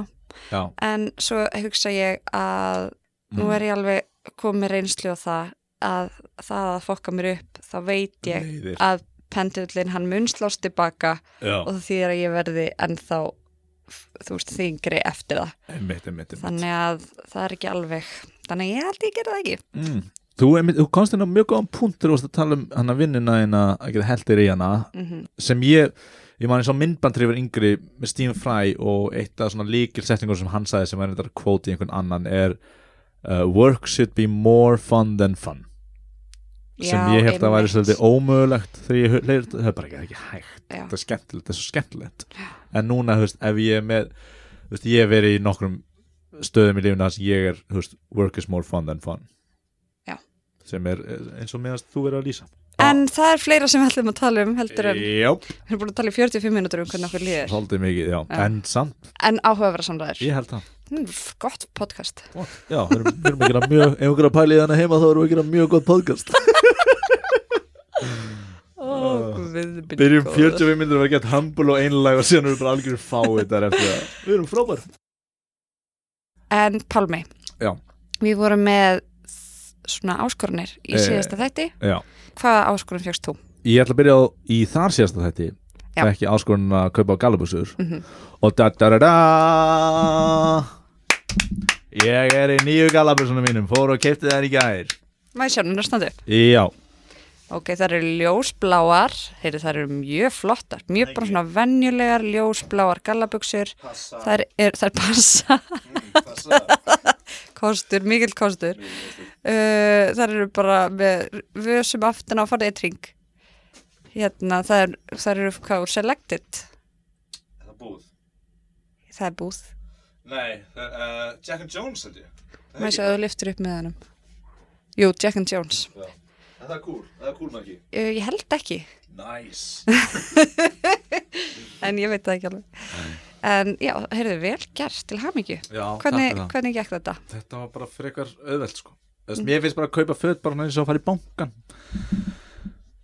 [SPEAKER 2] Já.
[SPEAKER 1] en svo hugsa ég að nú
[SPEAKER 2] Mm.
[SPEAKER 1] er ég alveg komið reynslu á það að það að fokka mér upp þá veit ég
[SPEAKER 2] Leiðir.
[SPEAKER 1] að pendullin hann mun slást tilbaka
[SPEAKER 2] Já.
[SPEAKER 1] og það þýðir að ég verði ennþá f- þú veist þingri eftir það
[SPEAKER 2] Einmitt, einmitt, einmitt.
[SPEAKER 1] þannig að það er ekki alveg þannig að ég held ég gerði það ekki
[SPEAKER 2] Mm. Þú, einmitt, þú komst inn á mjög góðan punkt þegar þú varst að tala um hann að vinnina þína að geta heldir í hana
[SPEAKER 1] mm -hmm.
[SPEAKER 2] sem ég ég man eins og myndbandrifur yngri með Stephen Fry og eitt af svona líkilsetningur sem hann sagði sem er þetta kvóti einhvern annan er uh, work should be more fun than fun sem ég held að væri svolítið ómögulegt þegar ég hleyrt, það er bara ekki, það er ekki hægt
[SPEAKER 1] Já.
[SPEAKER 2] þetta er skemmtilegt, þetta er svo skemmtilegt en núna, þú veist, ef ég er með þú veist, ég hef verið í nokkrum stöðum í lífuna þar sem ég er, þú veist, work is more fun than fun
[SPEAKER 1] Já.
[SPEAKER 2] sem er eh, eins og meðast þú verið að lýsa
[SPEAKER 1] en það er fleira sem við ætlum að tala um heldur en
[SPEAKER 2] Jáp,
[SPEAKER 1] við erum búin að tala í 45 minútur um hvernig okkur líður
[SPEAKER 2] svolítið mikið, já,
[SPEAKER 1] Já.
[SPEAKER 2] en samt,
[SPEAKER 1] en áhugaverða samræður
[SPEAKER 2] ég held það
[SPEAKER 1] mm, gott podcast
[SPEAKER 2] Já, við erum, við erum ekki að mjög, ef við erum að pæla í þannig heima þá erum við ekki að mjög gott podcast
[SPEAKER 1] Ó, guð minn
[SPEAKER 2] Byrjum
[SPEAKER 1] góður.
[SPEAKER 2] 45 minnir að vera gett humble og einlæg og síðan erum við bara algjörðu fáið þar eftir það Við erum frábær
[SPEAKER 1] En Pálmi,
[SPEAKER 2] Já.
[SPEAKER 1] við vorum með svona áskorunir í
[SPEAKER 2] Eh.
[SPEAKER 1] síðasta þætti.
[SPEAKER 2] Já,
[SPEAKER 1] Hvaða áskorun fjögst þú?
[SPEAKER 2] ég ætla að byrja á, í þar síðast að þetta
[SPEAKER 1] Já.
[SPEAKER 2] Það er ekki áskorun að kaupa á galabusur
[SPEAKER 1] Mm
[SPEAKER 2] Og da da da da Ég er í nýju galabusunum mínum, fór og keipti þær í gær
[SPEAKER 1] Maður sjá núna standu.
[SPEAKER 2] Já,
[SPEAKER 1] Ok, það eru ljósbláar, heyrðu það eru mjög flottar, mjög bara svona venjulegar ljósbláar gallabuxur. Það er, það er passa. kostur, mikill kostur. Uh, það eru bara með vösum aftan á farið eitt ring. Hérna, það, er, það eru hvað úr selected.
[SPEAKER 3] Er það búð?
[SPEAKER 1] Það er búð.
[SPEAKER 3] Nei, það, uh, Jack and Jones held ég. Það er
[SPEAKER 1] Mér
[SPEAKER 3] ekki.
[SPEAKER 1] sé að þú liftir upp með hannum. Jú, Jack and Jones.
[SPEAKER 3] Já. Það er cool, það er cool nakki.
[SPEAKER 1] Uh, ég held ekki,
[SPEAKER 3] Nice.
[SPEAKER 1] en ég veit það ekki alveg. En já, heyrðu, vel gert til hamingju.
[SPEAKER 2] Já, takk
[SPEAKER 1] Hvernig,
[SPEAKER 2] fyrir það.
[SPEAKER 1] hvernig gekk þetta?
[SPEAKER 2] Þetta var bara frekar auðvelt sko Þess, Mér finnst bara að kaupa föt bara eins og að fara í bankan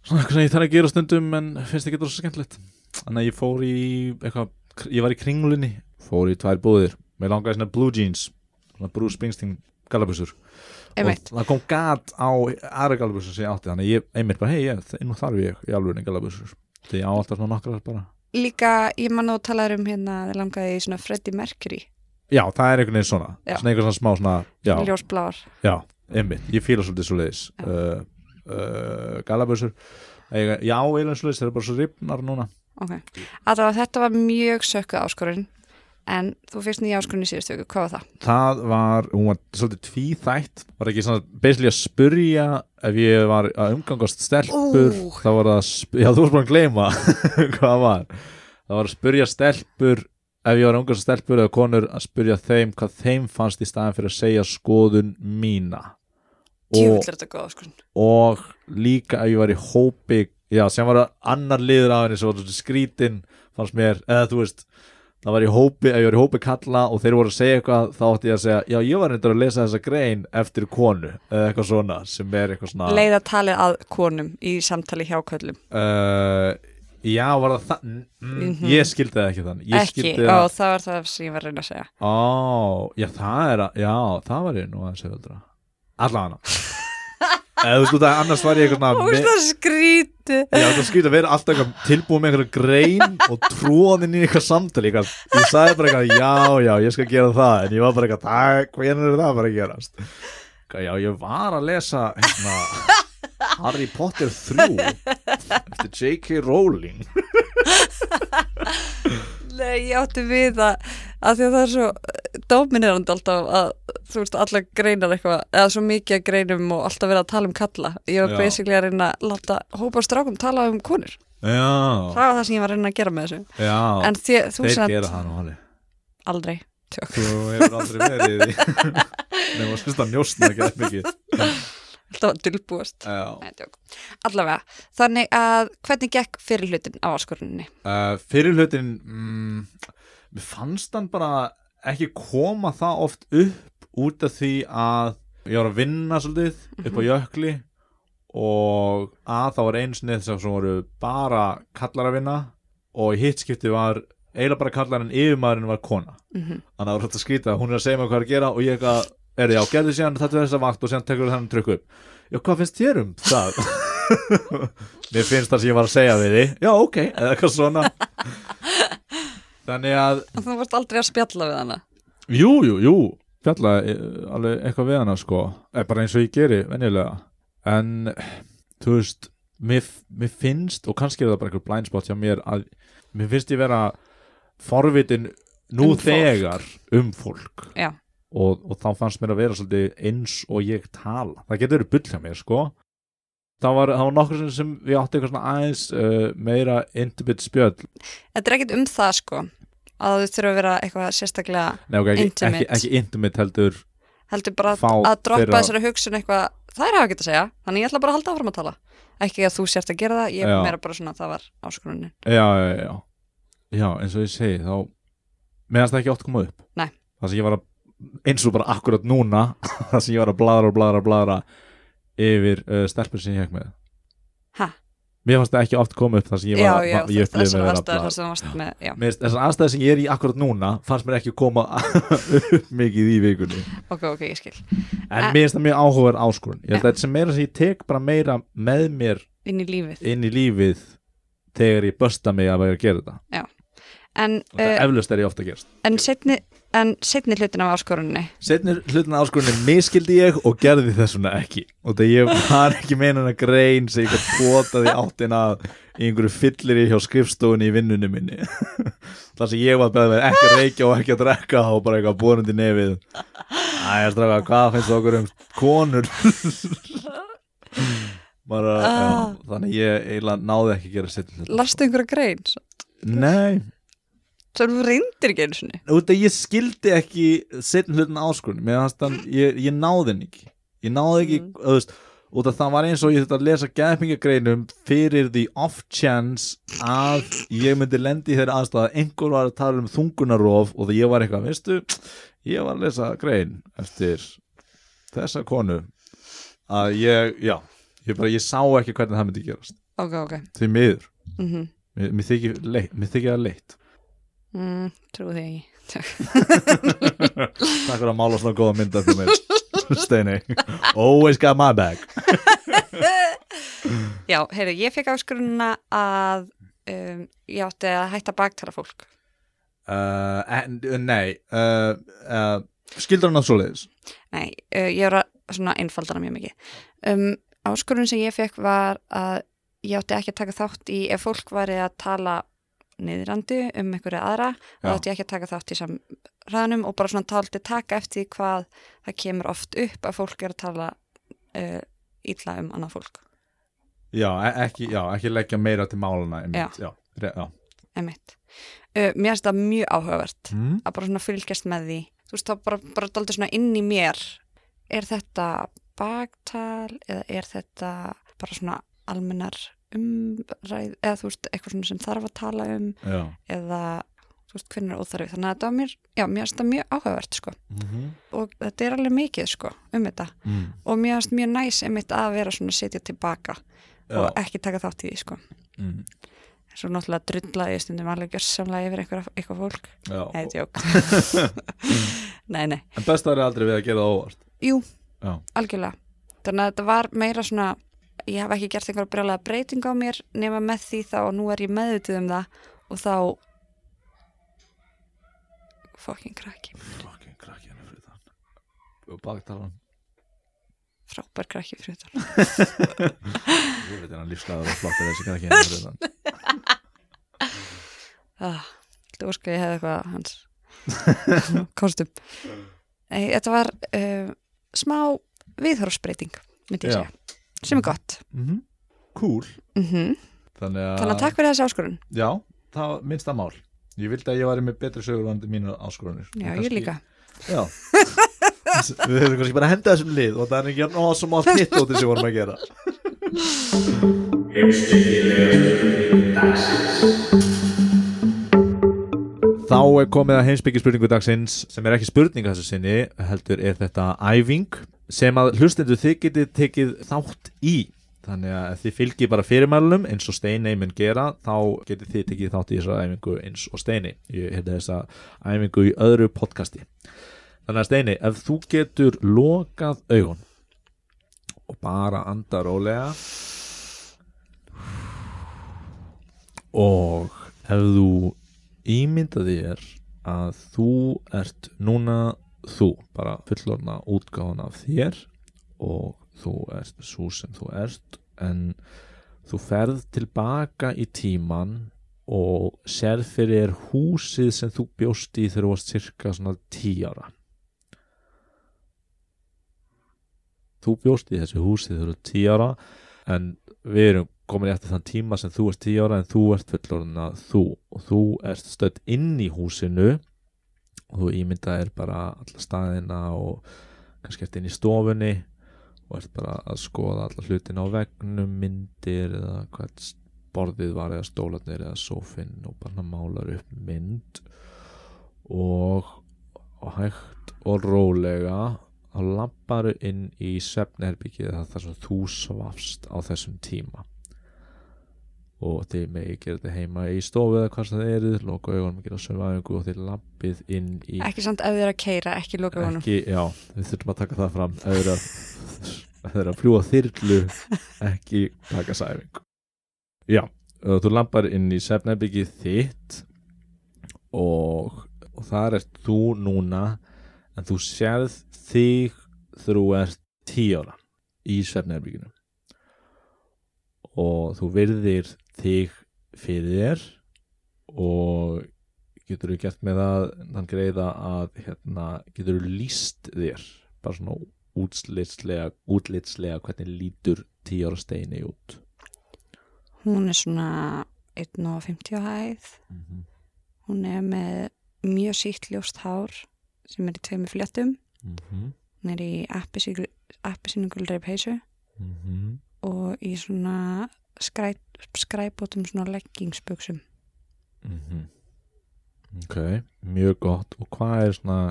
[SPEAKER 2] Svona eitthvað sem ég þarf að gera stundum en finnst ekki þetta svo skemmtilegt Þannig að ég fór í eitthvað, ég var í kringlunni Fór í tvær búðir Mér langaði svona blue jeans Svona Bruce Springsteen galabusur
[SPEAKER 1] Einmitt.
[SPEAKER 2] Og það kom gat á aðra galabusur sem ég átti Þannig að ég einmitt bara, hei, ég, nú þarf ég í alveg galabusur Því ég á alltaf svona nokkrar bara
[SPEAKER 1] Líka, ég man að tala um hérna, þið langaði í svona Freddie Mercury,
[SPEAKER 2] Já, það er einhvern veginn svona
[SPEAKER 1] Já.
[SPEAKER 2] Svona eitthvað svona smá svona já.
[SPEAKER 1] ljósbláar.
[SPEAKER 2] Já, einmitt, ég fíla svolítið svo leiðis uh, uh, Galabössur Ég, já, eiginlega svo leiðis, þeir eru bara svo ripnar núna
[SPEAKER 1] Ok. Alltaf, þetta var mjög sökkuð áskorun, en þú fyrst nýja áskorun í síðustu viku, hvað var það?
[SPEAKER 2] Það var, hún var svolítið tvíþætt Var ekki svona, basically að spurja Ef ég var að umgangast stelpur
[SPEAKER 1] Ú.
[SPEAKER 2] [laughs] þá var það, að sp- já þú varst bara að gleyma Hvað var, það var að spurja stelpur ef ég var ungar stelpur eða konur að spyrja þeim hvað þeim fannst í staðan fyrir að segja skoðun mína
[SPEAKER 1] djúvill er þetta góð sko.
[SPEAKER 2] og líka ef ég var í hópi já, sem var annar liður af henni sem var svolítið skrítin fannst mér, eða þú veist það var í hópi, ef ég var í hópi kalla og þeir voru að segja eitthvað, þá átti ég að segja já, ég var reyndar að lesa þessa grein eftir konu eða eitthvað svona, sem er eitthvað svona
[SPEAKER 1] leiða talið að konum í samtali hjá köllum
[SPEAKER 2] uh, já, var það það mm, ég skildi það ekki þannig ég
[SPEAKER 1] ekki, og
[SPEAKER 2] skildi það,
[SPEAKER 1] það var það sem ég var að reyna að segja
[SPEAKER 2] á, já, það er að já, það var ég nú að segja öldra allan eða þú veist, annars var ég eitthvað svona
[SPEAKER 1] og
[SPEAKER 2] me-
[SPEAKER 1] það skríti
[SPEAKER 2] Já, það skýrt að vera alltaf eitthvað tilbúið með einhverja grein og tróðin í eitthvað samtali eitthvað. Ég sagði bara eitthvað, já, já, ég skal gera það en ég var bara eitthvað, það, hvernig er það bara að gerast? Eitthvað, Já, ég var að lesa hérna, Harry Potter 3 eftir J.K. Rowling
[SPEAKER 1] Nei, ég átti við að, að því að það er svo eh, dóminirandi alltaf að þú veist, alla greinar eitthvað eða svo mikið að greinum og alltaf verið að tala um kalla ég var
[SPEAKER 2] Já.
[SPEAKER 1] basically að reyna að láta hópa á strákum tala um konur
[SPEAKER 2] Já,
[SPEAKER 1] það var það sem ég var að reyna að gera með þessu
[SPEAKER 2] já,
[SPEAKER 1] en því, þú
[SPEAKER 2] þeir
[SPEAKER 1] samt
[SPEAKER 2] gera það nú alveg
[SPEAKER 1] aldrei tjók,
[SPEAKER 2] Þú hefur aldrei verið í því Nei, maður syns það njóstna ekki það mikið
[SPEAKER 1] alltaf að dulbúast
[SPEAKER 2] Já
[SPEAKER 1] Nei, tjók. allavega, þannig að hvernig gekk fyrir hlutin á áskoruninni
[SPEAKER 2] uh, fyrir hlutin mm, mér fannst hann bara ekki koma það oft upp út af því að ég var að vinna svolítið upp á jökli og að það var einsnið sem sem voru bara kallar að vinna og í hitt skipti var eiginlega bara kallar en yfirmaðurinn var kona
[SPEAKER 1] Mhm.
[SPEAKER 2] þannig að það var hægt að skrýta hún er að segja mér hvað er að gera og ég eitthvað er já, gerðu síðan þetta verður þessa vakt og síðan tekur þannig trukku upp já, hvað finnst þér um það? mér finnst það sem ég var að segja við því já, ok, eða eitthvað [laughs] svona þannig að
[SPEAKER 1] þú varst aldrei að spjalla við hana
[SPEAKER 2] Jú, jú, jú, fjallaði eh, alveg eitthvað við hana sko, Eh, bara eins og ég geri venjulega, en eh, þú veist, mér, mér finnst og kannski er það bara eitthvað blind spot hjá mér að mér finnst ég vera forvitin nú
[SPEAKER 1] Um fólk.
[SPEAKER 2] þegar um fólk
[SPEAKER 1] Já.
[SPEAKER 2] og, og þá fannst mér að vera svolítið eins og ég tala, það getur verið bull hjá mér sko Það var, það var nokkur sem, sem við átti eitthvað svona aðeins uh, meira intimate spjöll
[SPEAKER 1] þetta er ekkit um það sko að þú þurfa að vera eitthvað sérstaklega
[SPEAKER 2] Nei, ok, ekki,
[SPEAKER 1] Intimate.
[SPEAKER 2] ekki, ekki intimate heldur
[SPEAKER 1] heldur bara
[SPEAKER 2] Fá
[SPEAKER 1] að droppa
[SPEAKER 2] þeirra-
[SPEAKER 1] þessari hugsun eitthvað það er hafa ekki að segja, þannig ég ætla bara að halda áfram að tala ekki að þú sért að gera það, ég
[SPEAKER 2] Já.
[SPEAKER 1] er meira bara svona það var áskorunin,
[SPEAKER 2] já, já, já, já Já, eins og ég segi þá meðan það ekki oft koma upp
[SPEAKER 1] Nei.
[SPEAKER 2] það sem ég var að eins og bara akkurat núna [laughs] það sem ég var að bladra og bladra og bladra yfir uh, stelpur sem ég hekk með
[SPEAKER 1] ha,
[SPEAKER 2] mér fannst það ekki oft koma upp það
[SPEAKER 1] já,
[SPEAKER 2] sem ég var
[SPEAKER 1] já,
[SPEAKER 2] ég upplifði
[SPEAKER 1] þessar
[SPEAKER 2] mig vera að
[SPEAKER 1] aðstæður
[SPEAKER 2] bladra
[SPEAKER 1] þar sem þú varst með, já,
[SPEAKER 2] Mér finnst þessar aðstæði sem ég er í akkurat núna fannst mér ekki koma [laughs] upp mikið í vikunni
[SPEAKER 1] ok, ok, ég skil
[SPEAKER 2] en
[SPEAKER 1] Eh.
[SPEAKER 2] mér finnst það mjög áhugaður áskorun ég held að þetta sem meira sem ég tek bara meira með mér
[SPEAKER 1] inn í lífið,
[SPEAKER 2] inn í lífið þegar ég bösta mig að vera að gera þetta
[SPEAKER 1] en, uh,
[SPEAKER 2] og þetta eflaust er ég ofta að gera
[SPEAKER 1] en setni en setni hlutin af áskoruninni
[SPEAKER 2] Setnir hlutin af áskorunni miskildi ég og gerði þessuna ekki og það ég var ekki meina hana grein sem ég gæti potaði áttina að í einhverju fyllir hjá skrifstofunni í vinnunni minni [laughs] þar sem ég var beðið með ekki að reykja og ekki að drekka og bara eitthvað borundi nefið Æja strafka, hvað finnst okkur um konur? [laughs] bara,
[SPEAKER 1] Ah.
[SPEAKER 2] já, þannig ég eiginlega náði ekki að gera setnir hlutin
[SPEAKER 1] lastu einhverja grein,
[SPEAKER 2] Nei,
[SPEAKER 1] svo þú reyndir ekki einu sinni
[SPEAKER 2] út að ég skildi ekki setn hlutin áskurinn mér fannst hann, ég, ég náði henni ekki ég náði ekki,
[SPEAKER 1] Mm.
[SPEAKER 2] þú veist út að það var eins og ég þurfti að lesa gæpingagreinum fyrir the off chance að ég myndi lendi í þeirra aðstæða að einhver var að tala um þungunarof og það ég var eitthvað, veistu ég var að lesa grein eftir þessa konu að ég, já, ég bara ég sá ekki hvernig það myndi gerast,
[SPEAKER 1] ok, ok,
[SPEAKER 2] því miður
[SPEAKER 1] mhm
[SPEAKER 2] mér, mér þykir leitt, mér þykir það leitt
[SPEAKER 1] mm, trúi því ekki
[SPEAKER 2] Takk fyrir að mála svona góða mynda fyrir mér Steini Always got my back
[SPEAKER 1] já, heyrðu, ég fekk áskorunina að um, ég átti að hætta að baktala fólk
[SPEAKER 2] uh, en, Nei uh, uh, Skildur hann að svoleiðis
[SPEAKER 1] Nei, uh, ég var að svona einfaldana mjög mikið. Um, áskorun sem ég fekk var að ég átti ekki að taka þátt í, ef fólk varði að tala niðrandi um einhverja aðra, þá
[SPEAKER 2] Já.
[SPEAKER 1] átti ég ekki að taka þátt í samræðanum og bara svona taldi taka eftir því hvað það kemur oft upp að fólk er að tala uh, illa um annað fólk,
[SPEAKER 2] já e- ekki, já, ekki leggja meira til málana einmitt. Já, re- já.
[SPEAKER 1] emitt. uh, mér finnst það mjög áhugavert
[SPEAKER 2] Mm.
[SPEAKER 1] að bara svona fylgjast með því þú veist þá bara, bara daldið svona inn í mér er þetta baktal eða er þetta bara svona almennar umræð eða þú veist eitthvað svona sem þarf að tala um
[SPEAKER 2] Já.
[SPEAKER 1] eða þú veist hvernig er óþarfi þannig að þetta var mér, já mér finnst það mjög áhugavert sko
[SPEAKER 2] Mm
[SPEAKER 1] og þetta er alveg mikið sko um þetta
[SPEAKER 2] mm.
[SPEAKER 1] og mér finnst mjög næs einmitt að vera svona að setja tilbaka og
[SPEAKER 2] Já.
[SPEAKER 1] ekki taka þátt í því sko
[SPEAKER 2] Mm.
[SPEAKER 1] svo náttúrulega drullaði ég stundum alveg gjörsamlega yfir einhverja- eitthvað fólk
[SPEAKER 2] Já. Mm.
[SPEAKER 1] Nei, þetta er
[SPEAKER 2] [laughs]
[SPEAKER 1] jók Nei, nei,
[SPEAKER 2] En bestar er aldrei við að gera það óvart
[SPEAKER 1] jú,
[SPEAKER 2] Já.
[SPEAKER 1] algjörlega Þannig að þetta var meira svona ég hef ekki gert einhverja brjálega breyting á mér nema með því þá og nú er ég meðvituð um það og þá fucking krakki
[SPEAKER 2] Fucking krakki henni fyrir þann Og baktalan
[SPEAKER 1] frábær krakki fyrir þetta
[SPEAKER 2] Ég veit hennan lífslæður og flottir þessi krakki henni fyrir þann
[SPEAKER 1] ah, Þetta óska ég hefði eitthvað af hans
[SPEAKER 2] [laughs]
[SPEAKER 1] kostum Nei, Þetta var uh, smá viðhorfsbreyting myndi ég
[SPEAKER 2] Já.
[SPEAKER 1] segja sem er gott
[SPEAKER 2] mm -hmm. Cool
[SPEAKER 1] mm
[SPEAKER 2] Mhm. Þannig að,
[SPEAKER 1] Þannig að takk fyrir þessi áskorun
[SPEAKER 2] Já, það var minnsta mál Ég vildi að ég væri með betri sögurlandi mínu áskorunir
[SPEAKER 1] Já, ég
[SPEAKER 2] En kannski-
[SPEAKER 1] líka
[SPEAKER 2] Já Við höfum kannski bara að henda þessum lið og það er ekki ná sem allt hitt út sem vorum að gera Þá er komið að heimsbyggja spurningu dagsins sem er ekki spurning að þessu sinni heldur er þetta æfing sem að hlustendur þið getið tekið þátt í þannig að ef þið fylgið bara fyrirmælunum eins og Steinei mun gera þá getið þið tekið þátt í þessar æfingu eins og Steinei ég heyrði þessa æfingu í öðru podcasti Þannig að Steini, ef þú getur lokað augun og bara anda rólega og ef þú ímynda þér að þú ert núna þú, bara fullorna útgáðan af þér og þú ert svo sem þú ert en þú ferð tilbaka í tíman og sér fyrir þér húsið sem þú bjóst í þegar þú varst cirka svona 10 ára þú bjóst í þessu húsi þegar þú eru 10 ára en við erum komin eftir þann tíma sem þú ert 10 ára en þú ert fullorðin að þú og þú ert stödd inn í húsinu og þú ímyndað er bara alla staðina og kannski ert inn í stofunni og ert bara að skoða alla hlutina á vegnum, myndir eða hvað borðið var eða stólarnir eða sófinn og bara málar upp mynd og, og hægt og rólega þá labbaru inn í svefnherbyggið þar sem þú svafst á þessum tíma og þið megi gera þetta heima í stofu eða hvað sem það eru, loka augunum gera svefnæfingu og þið labbið inn í
[SPEAKER 1] Ekki samt ef þið er að keira, ekki loka honum
[SPEAKER 2] ekki, já, við þurfum að taka það fram ef þeir eru að, ef þeir eru að fljúa þyrlu ekki taka sæfingu já, uh, þú lampar inn í sefnæbyggið þitt og, og þar ert þú núna en þú sérð þig þegar þú ert tíu ára í sefnæbygginu og þú virðir þig fyrir þér og getur þú gert með það þann greiða að hérna, getur þú líst þér bara svona útlitslega, útlitslega hvernig lítur 10 ára steini út
[SPEAKER 1] Hún er svona 1.50 á hæð
[SPEAKER 2] Mhm,
[SPEAKER 1] Hún er með mjög sítt ljóst hár sem er í tveimur fléttum
[SPEAKER 2] mhm,
[SPEAKER 1] Hún er í appisýningulreip peysu
[SPEAKER 2] mhm,
[SPEAKER 1] og í svona skræ, skræbótum svona leggingsbuksum
[SPEAKER 2] mhm. ok, mjög gott og hvað er svona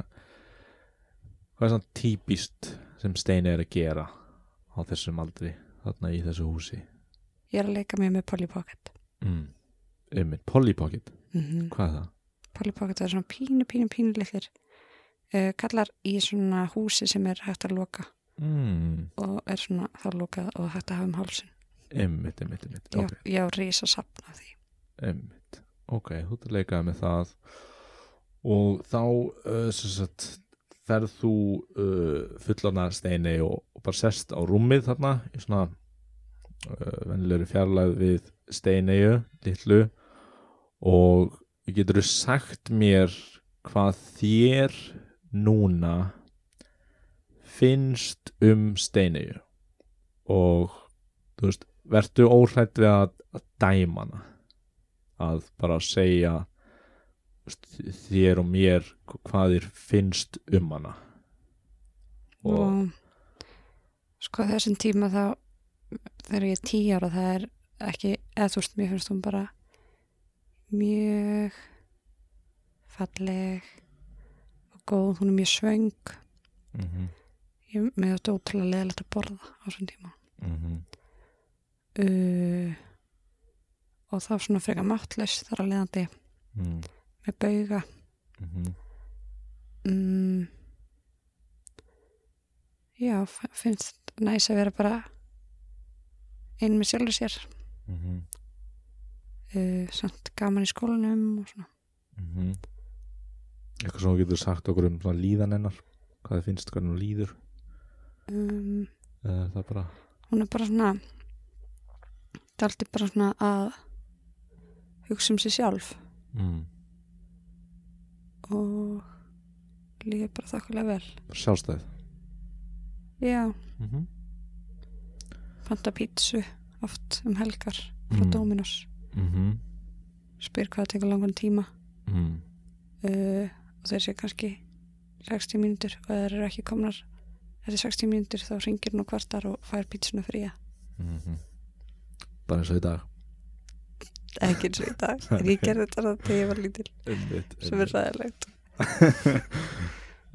[SPEAKER 2] hvað er svona típist sem steini er að gera á þessum aldri þarna í þessu húsi
[SPEAKER 1] Ég er að leika mér með Polly Pocket
[SPEAKER 2] mm. einmitt, Polly Pocket,
[SPEAKER 1] mm
[SPEAKER 2] hvað er það?
[SPEAKER 1] Polly Pocket er svona pínu, pínu, pínu litlir uh, kallar í svona húsi sem er hægt að loka
[SPEAKER 2] Mm.
[SPEAKER 1] og er svona þá lokað og hægt að hafa um hálsin
[SPEAKER 2] einmitt, einmitt, einmitt
[SPEAKER 1] Já,
[SPEAKER 2] ok.
[SPEAKER 1] ég á risa safn af því
[SPEAKER 2] Einmitt. Ok, þú ert að leikaði með það og þá uh, sem sagt, ferð þú uh, fullana steini og, og bara sest á rúmið þarna í svona uh, vennilegri fjarlæð við steineiu, litlu og getur þú sagt mér hvað þér núna finnst um steineiu og þú veist, vertu óhrætt við að, að dæma hana að bara segja veist, þér og mér hvað þér finnst um hana og
[SPEAKER 1] og sko þessum tíma þá þegar ég er tí ára það er ekki, eða þú veist, mér finnst hún bara mjög falleg og góð, hún er mjög svöng
[SPEAKER 2] mm -hmm,
[SPEAKER 1] ég með þetta ótrúlega leðilegt að borða á þessum tíma uh, og þá svona frekar máttlaus þar að leiðandi
[SPEAKER 2] mm
[SPEAKER 1] með bauga
[SPEAKER 2] -hmm,
[SPEAKER 1] mm, já, f- finnst næs að vera bara einn með sjálfur sér
[SPEAKER 2] mm -hmm,
[SPEAKER 1] uh, samt gaman í skólanum og svona
[SPEAKER 2] mm -hmm. eitthvað sem þú getur sagt okkur um svona líðan hennar hvað þið finnst, hvernig hún líður
[SPEAKER 1] um,
[SPEAKER 2] eða er það bara
[SPEAKER 1] hún er bara svona það er aldrei bara svona að hugsa um sig sjálf
[SPEAKER 2] mm.
[SPEAKER 1] og líka bara þakkulega vel
[SPEAKER 2] sjálfstæð
[SPEAKER 1] já,
[SPEAKER 2] mm -hmm.
[SPEAKER 1] panta pítsu oft um helgar frá
[SPEAKER 2] Mm.
[SPEAKER 1] mm. Dominos
[SPEAKER 2] Mm -hmm.
[SPEAKER 1] spyr hvað það tekur langan tíma
[SPEAKER 2] Mm.
[SPEAKER 1] uh, og þeir séu kannski 60 mínútur og þeir eru ekki komnar eftir 60 mínútur þá ringir hún og kvartar og fær pítsuna fría
[SPEAKER 2] Mhm. bara eins og í dag
[SPEAKER 1] ekki eins og í dag, en ég gerði þetta þarna þegar ég var lítil,
[SPEAKER 2] einmitt,
[SPEAKER 1] sem er ræðilegt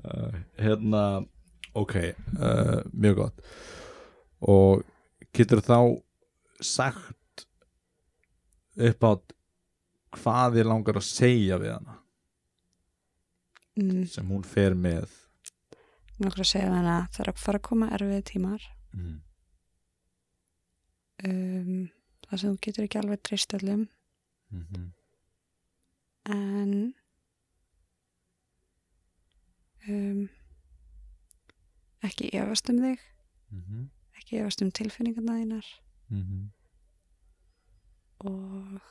[SPEAKER 2] uh, hérna ok, uh, mjög gott og getur þá sagt upp átt hvað þið langar að segja við hana
[SPEAKER 1] mm,
[SPEAKER 2] sem hún fer með
[SPEAKER 1] nokkur að segja þannig að það er að fara að koma erfið tímar
[SPEAKER 2] mm.
[SPEAKER 1] um, það sem þú getur ekki alveg treyst öllum
[SPEAKER 2] Mm -hmm.
[SPEAKER 1] en um, ekki efast um þig
[SPEAKER 2] Mm
[SPEAKER 1] ekki efast um tilfinningarna þínar
[SPEAKER 2] -hmm.
[SPEAKER 1] og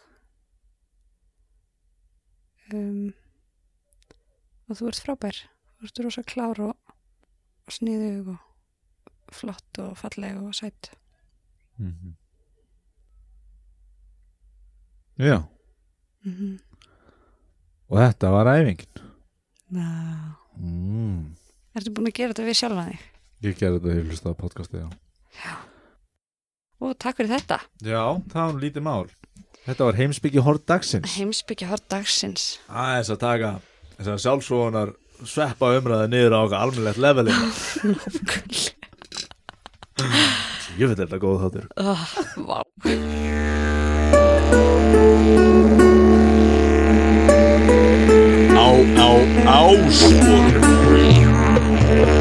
[SPEAKER 1] um, og þú ert frábær þú ert rosa klár og, og sniðug og flott og falleg og sætt
[SPEAKER 2] Mhm. já,
[SPEAKER 1] mm -hmm.
[SPEAKER 2] og þetta var æfingin
[SPEAKER 1] Ná,
[SPEAKER 2] mm.
[SPEAKER 1] ertu búin að gera þetta við sjálfa þig
[SPEAKER 2] ég gerði þetta í hlustaða podcasti já.
[SPEAKER 1] og takk fyrir þetta,
[SPEAKER 2] já, það var nú lítið mál þetta var heimsbyggja hort dagsins
[SPEAKER 1] heimsbyggja hort dagsins
[SPEAKER 2] aðeins að taka þess að sjálfsvonar sveppa umræði niður á okkar almennlegt leveli ég veit þetta góð þáttur
[SPEAKER 1] oh, vá
[SPEAKER 3] Á, á, áskorum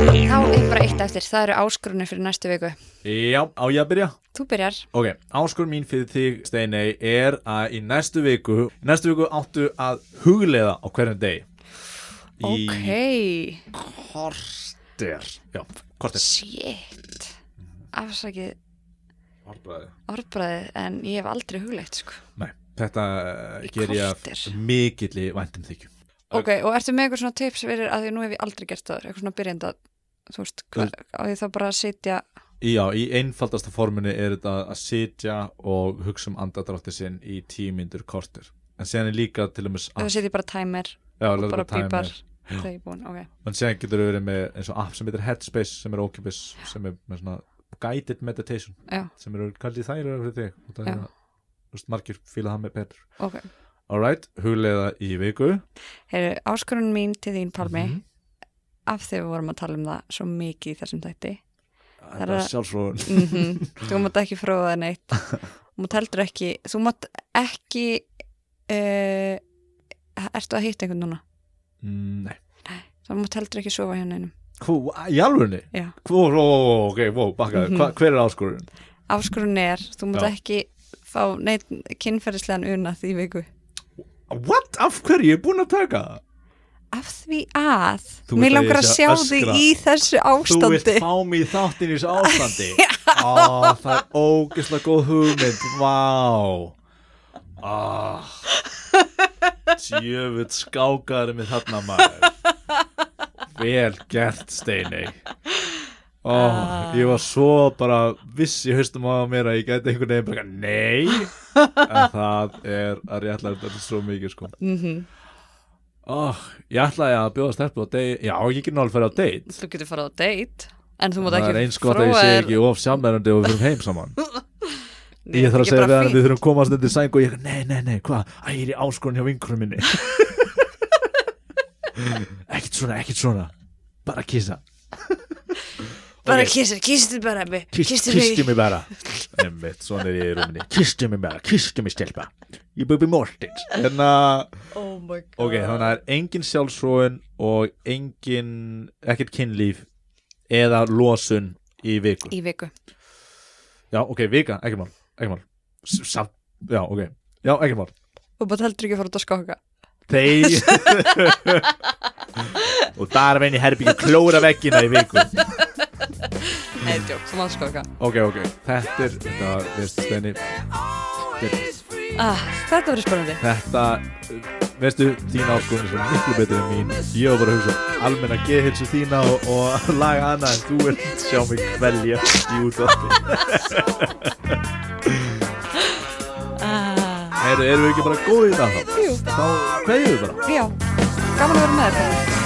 [SPEAKER 1] þá er bara eitt eftir, það eru áskrunni fyrir næstu viku
[SPEAKER 2] já, á ég að byrja
[SPEAKER 1] þú byrjar,
[SPEAKER 2] ok, áskur mín fyrir þig Steinei er að í næstu viku í næstu viku áttu að hugleiða á hverjum deg í
[SPEAKER 1] ok
[SPEAKER 2] korter já, korter
[SPEAKER 1] shit afsakið
[SPEAKER 2] Orðbræði.
[SPEAKER 1] orðbræðið en ég hef aldrei hugleitt sko.
[SPEAKER 2] nei, þetta
[SPEAKER 1] Í
[SPEAKER 2] ger ég af
[SPEAKER 1] korter.
[SPEAKER 2] mikilli væntum þykju
[SPEAKER 1] ok, og ertu með eitthvað svona tips fyrir að því nú hef ég aldrei gert það eitthvað svona byrjenda þú veist, hva, á því þá bara að sitja
[SPEAKER 2] Já, í einfaldasta forminu er þetta að sitja og hugsa um andadrátti sinn í tímyndur kortur. En síðan er líka til dæmis
[SPEAKER 1] þá
[SPEAKER 2] app,
[SPEAKER 1] sitja ég bara timer
[SPEAKER 2] já,
[SPEAKER 1] og
[SPEAKER 2] láta
[SPEAKER 1] bara
[SPEAKER 2] timer.
[SPEAKER 1] pípar þegar ég er búin, ok
[SPEAKER 2] En síðan getur þú verið með eins og app sem heitir Headspace sem er ókipis, sem er með svona guided meditation,
[SPEAKER 1] já,
[SPEAKER 2] sem eru kallið þægilega fyrir þig. Og það
[SPEAKER 1] Já.
[SPEAKER 2] er að, þú veist, margir fíla það með betur.
[SPEAKER 1] ok
[SPEAKER 2] Alright, hugleiða í viku.
[SPEAKER 1] Heyrðu, áskorun mín til þín Pálmi
[SPEAKER 2] Mhm.
[SPEAKER 1] af því við vorum að tala um það svo mikið í þessum þætti
[SPEAKER 2] Það
[SPEAKER 1] er
[SPEAKER 2] er
[SPEAKER 1] að-
[SPEAKER 2] sjálfsfróðun.
[SPEAKER 1] mm [laughs] þú mátt ekki fróða það neitt þú mátt heldur ekki þú mátt ekki uh, ertu að hitta einhvern núna
[SPEAKER 2] Mm, Nei.
[SPEAKER 1] þú mátt heldur ekki sofa hjá neinum
[SPEAKER 2] Hú, í alvörunni?
[SPEAKER 1] já
[SPEAKER 2] Hú, ó, ok, wow, bakkaði.
[SPEAKER 1] Mhm.
[SPEAKER 2] Mm Hver er áskorun?
[SPEAKER 1] afskurinn er, þú mátt
[SPEAKER 2] Já.
[SPEAKER 1] ekki fá neitt kynferðislegan una því viku
[SPEAKER 2] What? Af hverju? Ég er búin að taka það.
[SPEAKER 1] af því að
[SPEAKER 2] Þú
[SPEAKER 1] mér
[SPEAKER 2] vilt að
[SPEAKER 1] langar
[SPEAKER 2] ég
[SPEAKER 1] að
[SPEAKER 2] sé
[SPEAKER 1] sjá
[SPEAKER 2] að
[SPEAKER 1] þig
[SPEAKER 2] öskra.
[SPEAKER 1] í þessu
[SPEAKER 2] Þú vilt
[SPEAKER 1] ástandi
[SPEAKER 2] fá mig í þáttin í þessu
[SPEAKER 1] [laughs]
[SPEAKER 2] ástandi Ó, það er ógislega góð hugmynd Vá ah. Tjöfull skákaður með þarna maður Vel gert, Steini Ó, ég var svo bara viss í haustum á mér að ég gæti einhvern veginn bara Nei En það er að réttlega þetta svo mikið sko
[SPEAKER 1] Mhm.
[SPEAKER 2] oh, ég ætlaði að bjóða stelpu á date já, ég get náttúrulega að fara á date
[SPEAKER 1] Þú getur farið á date En þú mátt
[SPEAKER 2] það
[SPEAKER 1] ekki
[SPEAKER 2] er eins gott að ég sé
[SPEAKER 1] þér-
[SPEAKER 2] ekki of samverðandi og við fyrir heim
[SPEAKER 1] [laughs]
[SPEAKER 2] saman
[SPEAKER 1] Nei,
[SPEAKER 2] ég þarf að
[SPEAKER 1] er
[SPEAKER 2] segja
[SPEAKER 1] bara
[SPEAKER 2] við hann
[SPEAKER 1] fín.
[SPEAKER 2] við þurfum að komast undir sæng og ég, nei, nei, nei, hvað, æ, ég er í áskorun hjá vinkurum minni [laughs] ekkert svona, ekkert svona bara kissa
[SPEAKER 1] [laughs] Bara
[SPEAKER 2] Ok.
[SPEAKER 1] kissir, kissir bara mig
[SPEAKER 2] Kist-
[SPEAKER 1] Kissir mig
[SPEAKER 2] kistu mig bara Einmitt, svona er ég í rúminni kistu mig bara, kistu mig stelpa ég búið mortins hérna,
[SPEAKER 1] Oh my god
[SPEAKER 2] ok, þannig að það er engin sjálfsróun og engin ekkert kynlíf eða losun í viku
[SPEAKER 1] Í viku
[SPEAKER 2] já, ok, vika, ekki mál, ekki mál S- samt, já, ok, já, ekki mál
[SPEAKER 1] Og bara heldur ekki að fara út að skokka
[SPEAKER 2] Þeir Og þar venni herbyggju klóra veggina í viku
[SPEAKER 1] Nei, djók, þú mátt skokka
[SPEAKER 2] Ok, ok, þetta er Þetta, veistu Steini
[SPEAKER 1] ah, Þetta verður spennandi
[SPEAKER 2] Þetta, veistu, þín áskorun er svo miklu betur en mín Ég var bara að hugsa um almenna geðhilsu þína og, og laga hana en þú er sjá mig kvelja í útvarpi
[SPEAKER 1] ah,
[SPEAKER 2] Eru, erum við ekki bara góðið það þá?
[SPEAKER 1] Jú,
[SPEAKER 2] Þá kveðjum við bara
[SPEAKER 1] já Gaman að vera með þér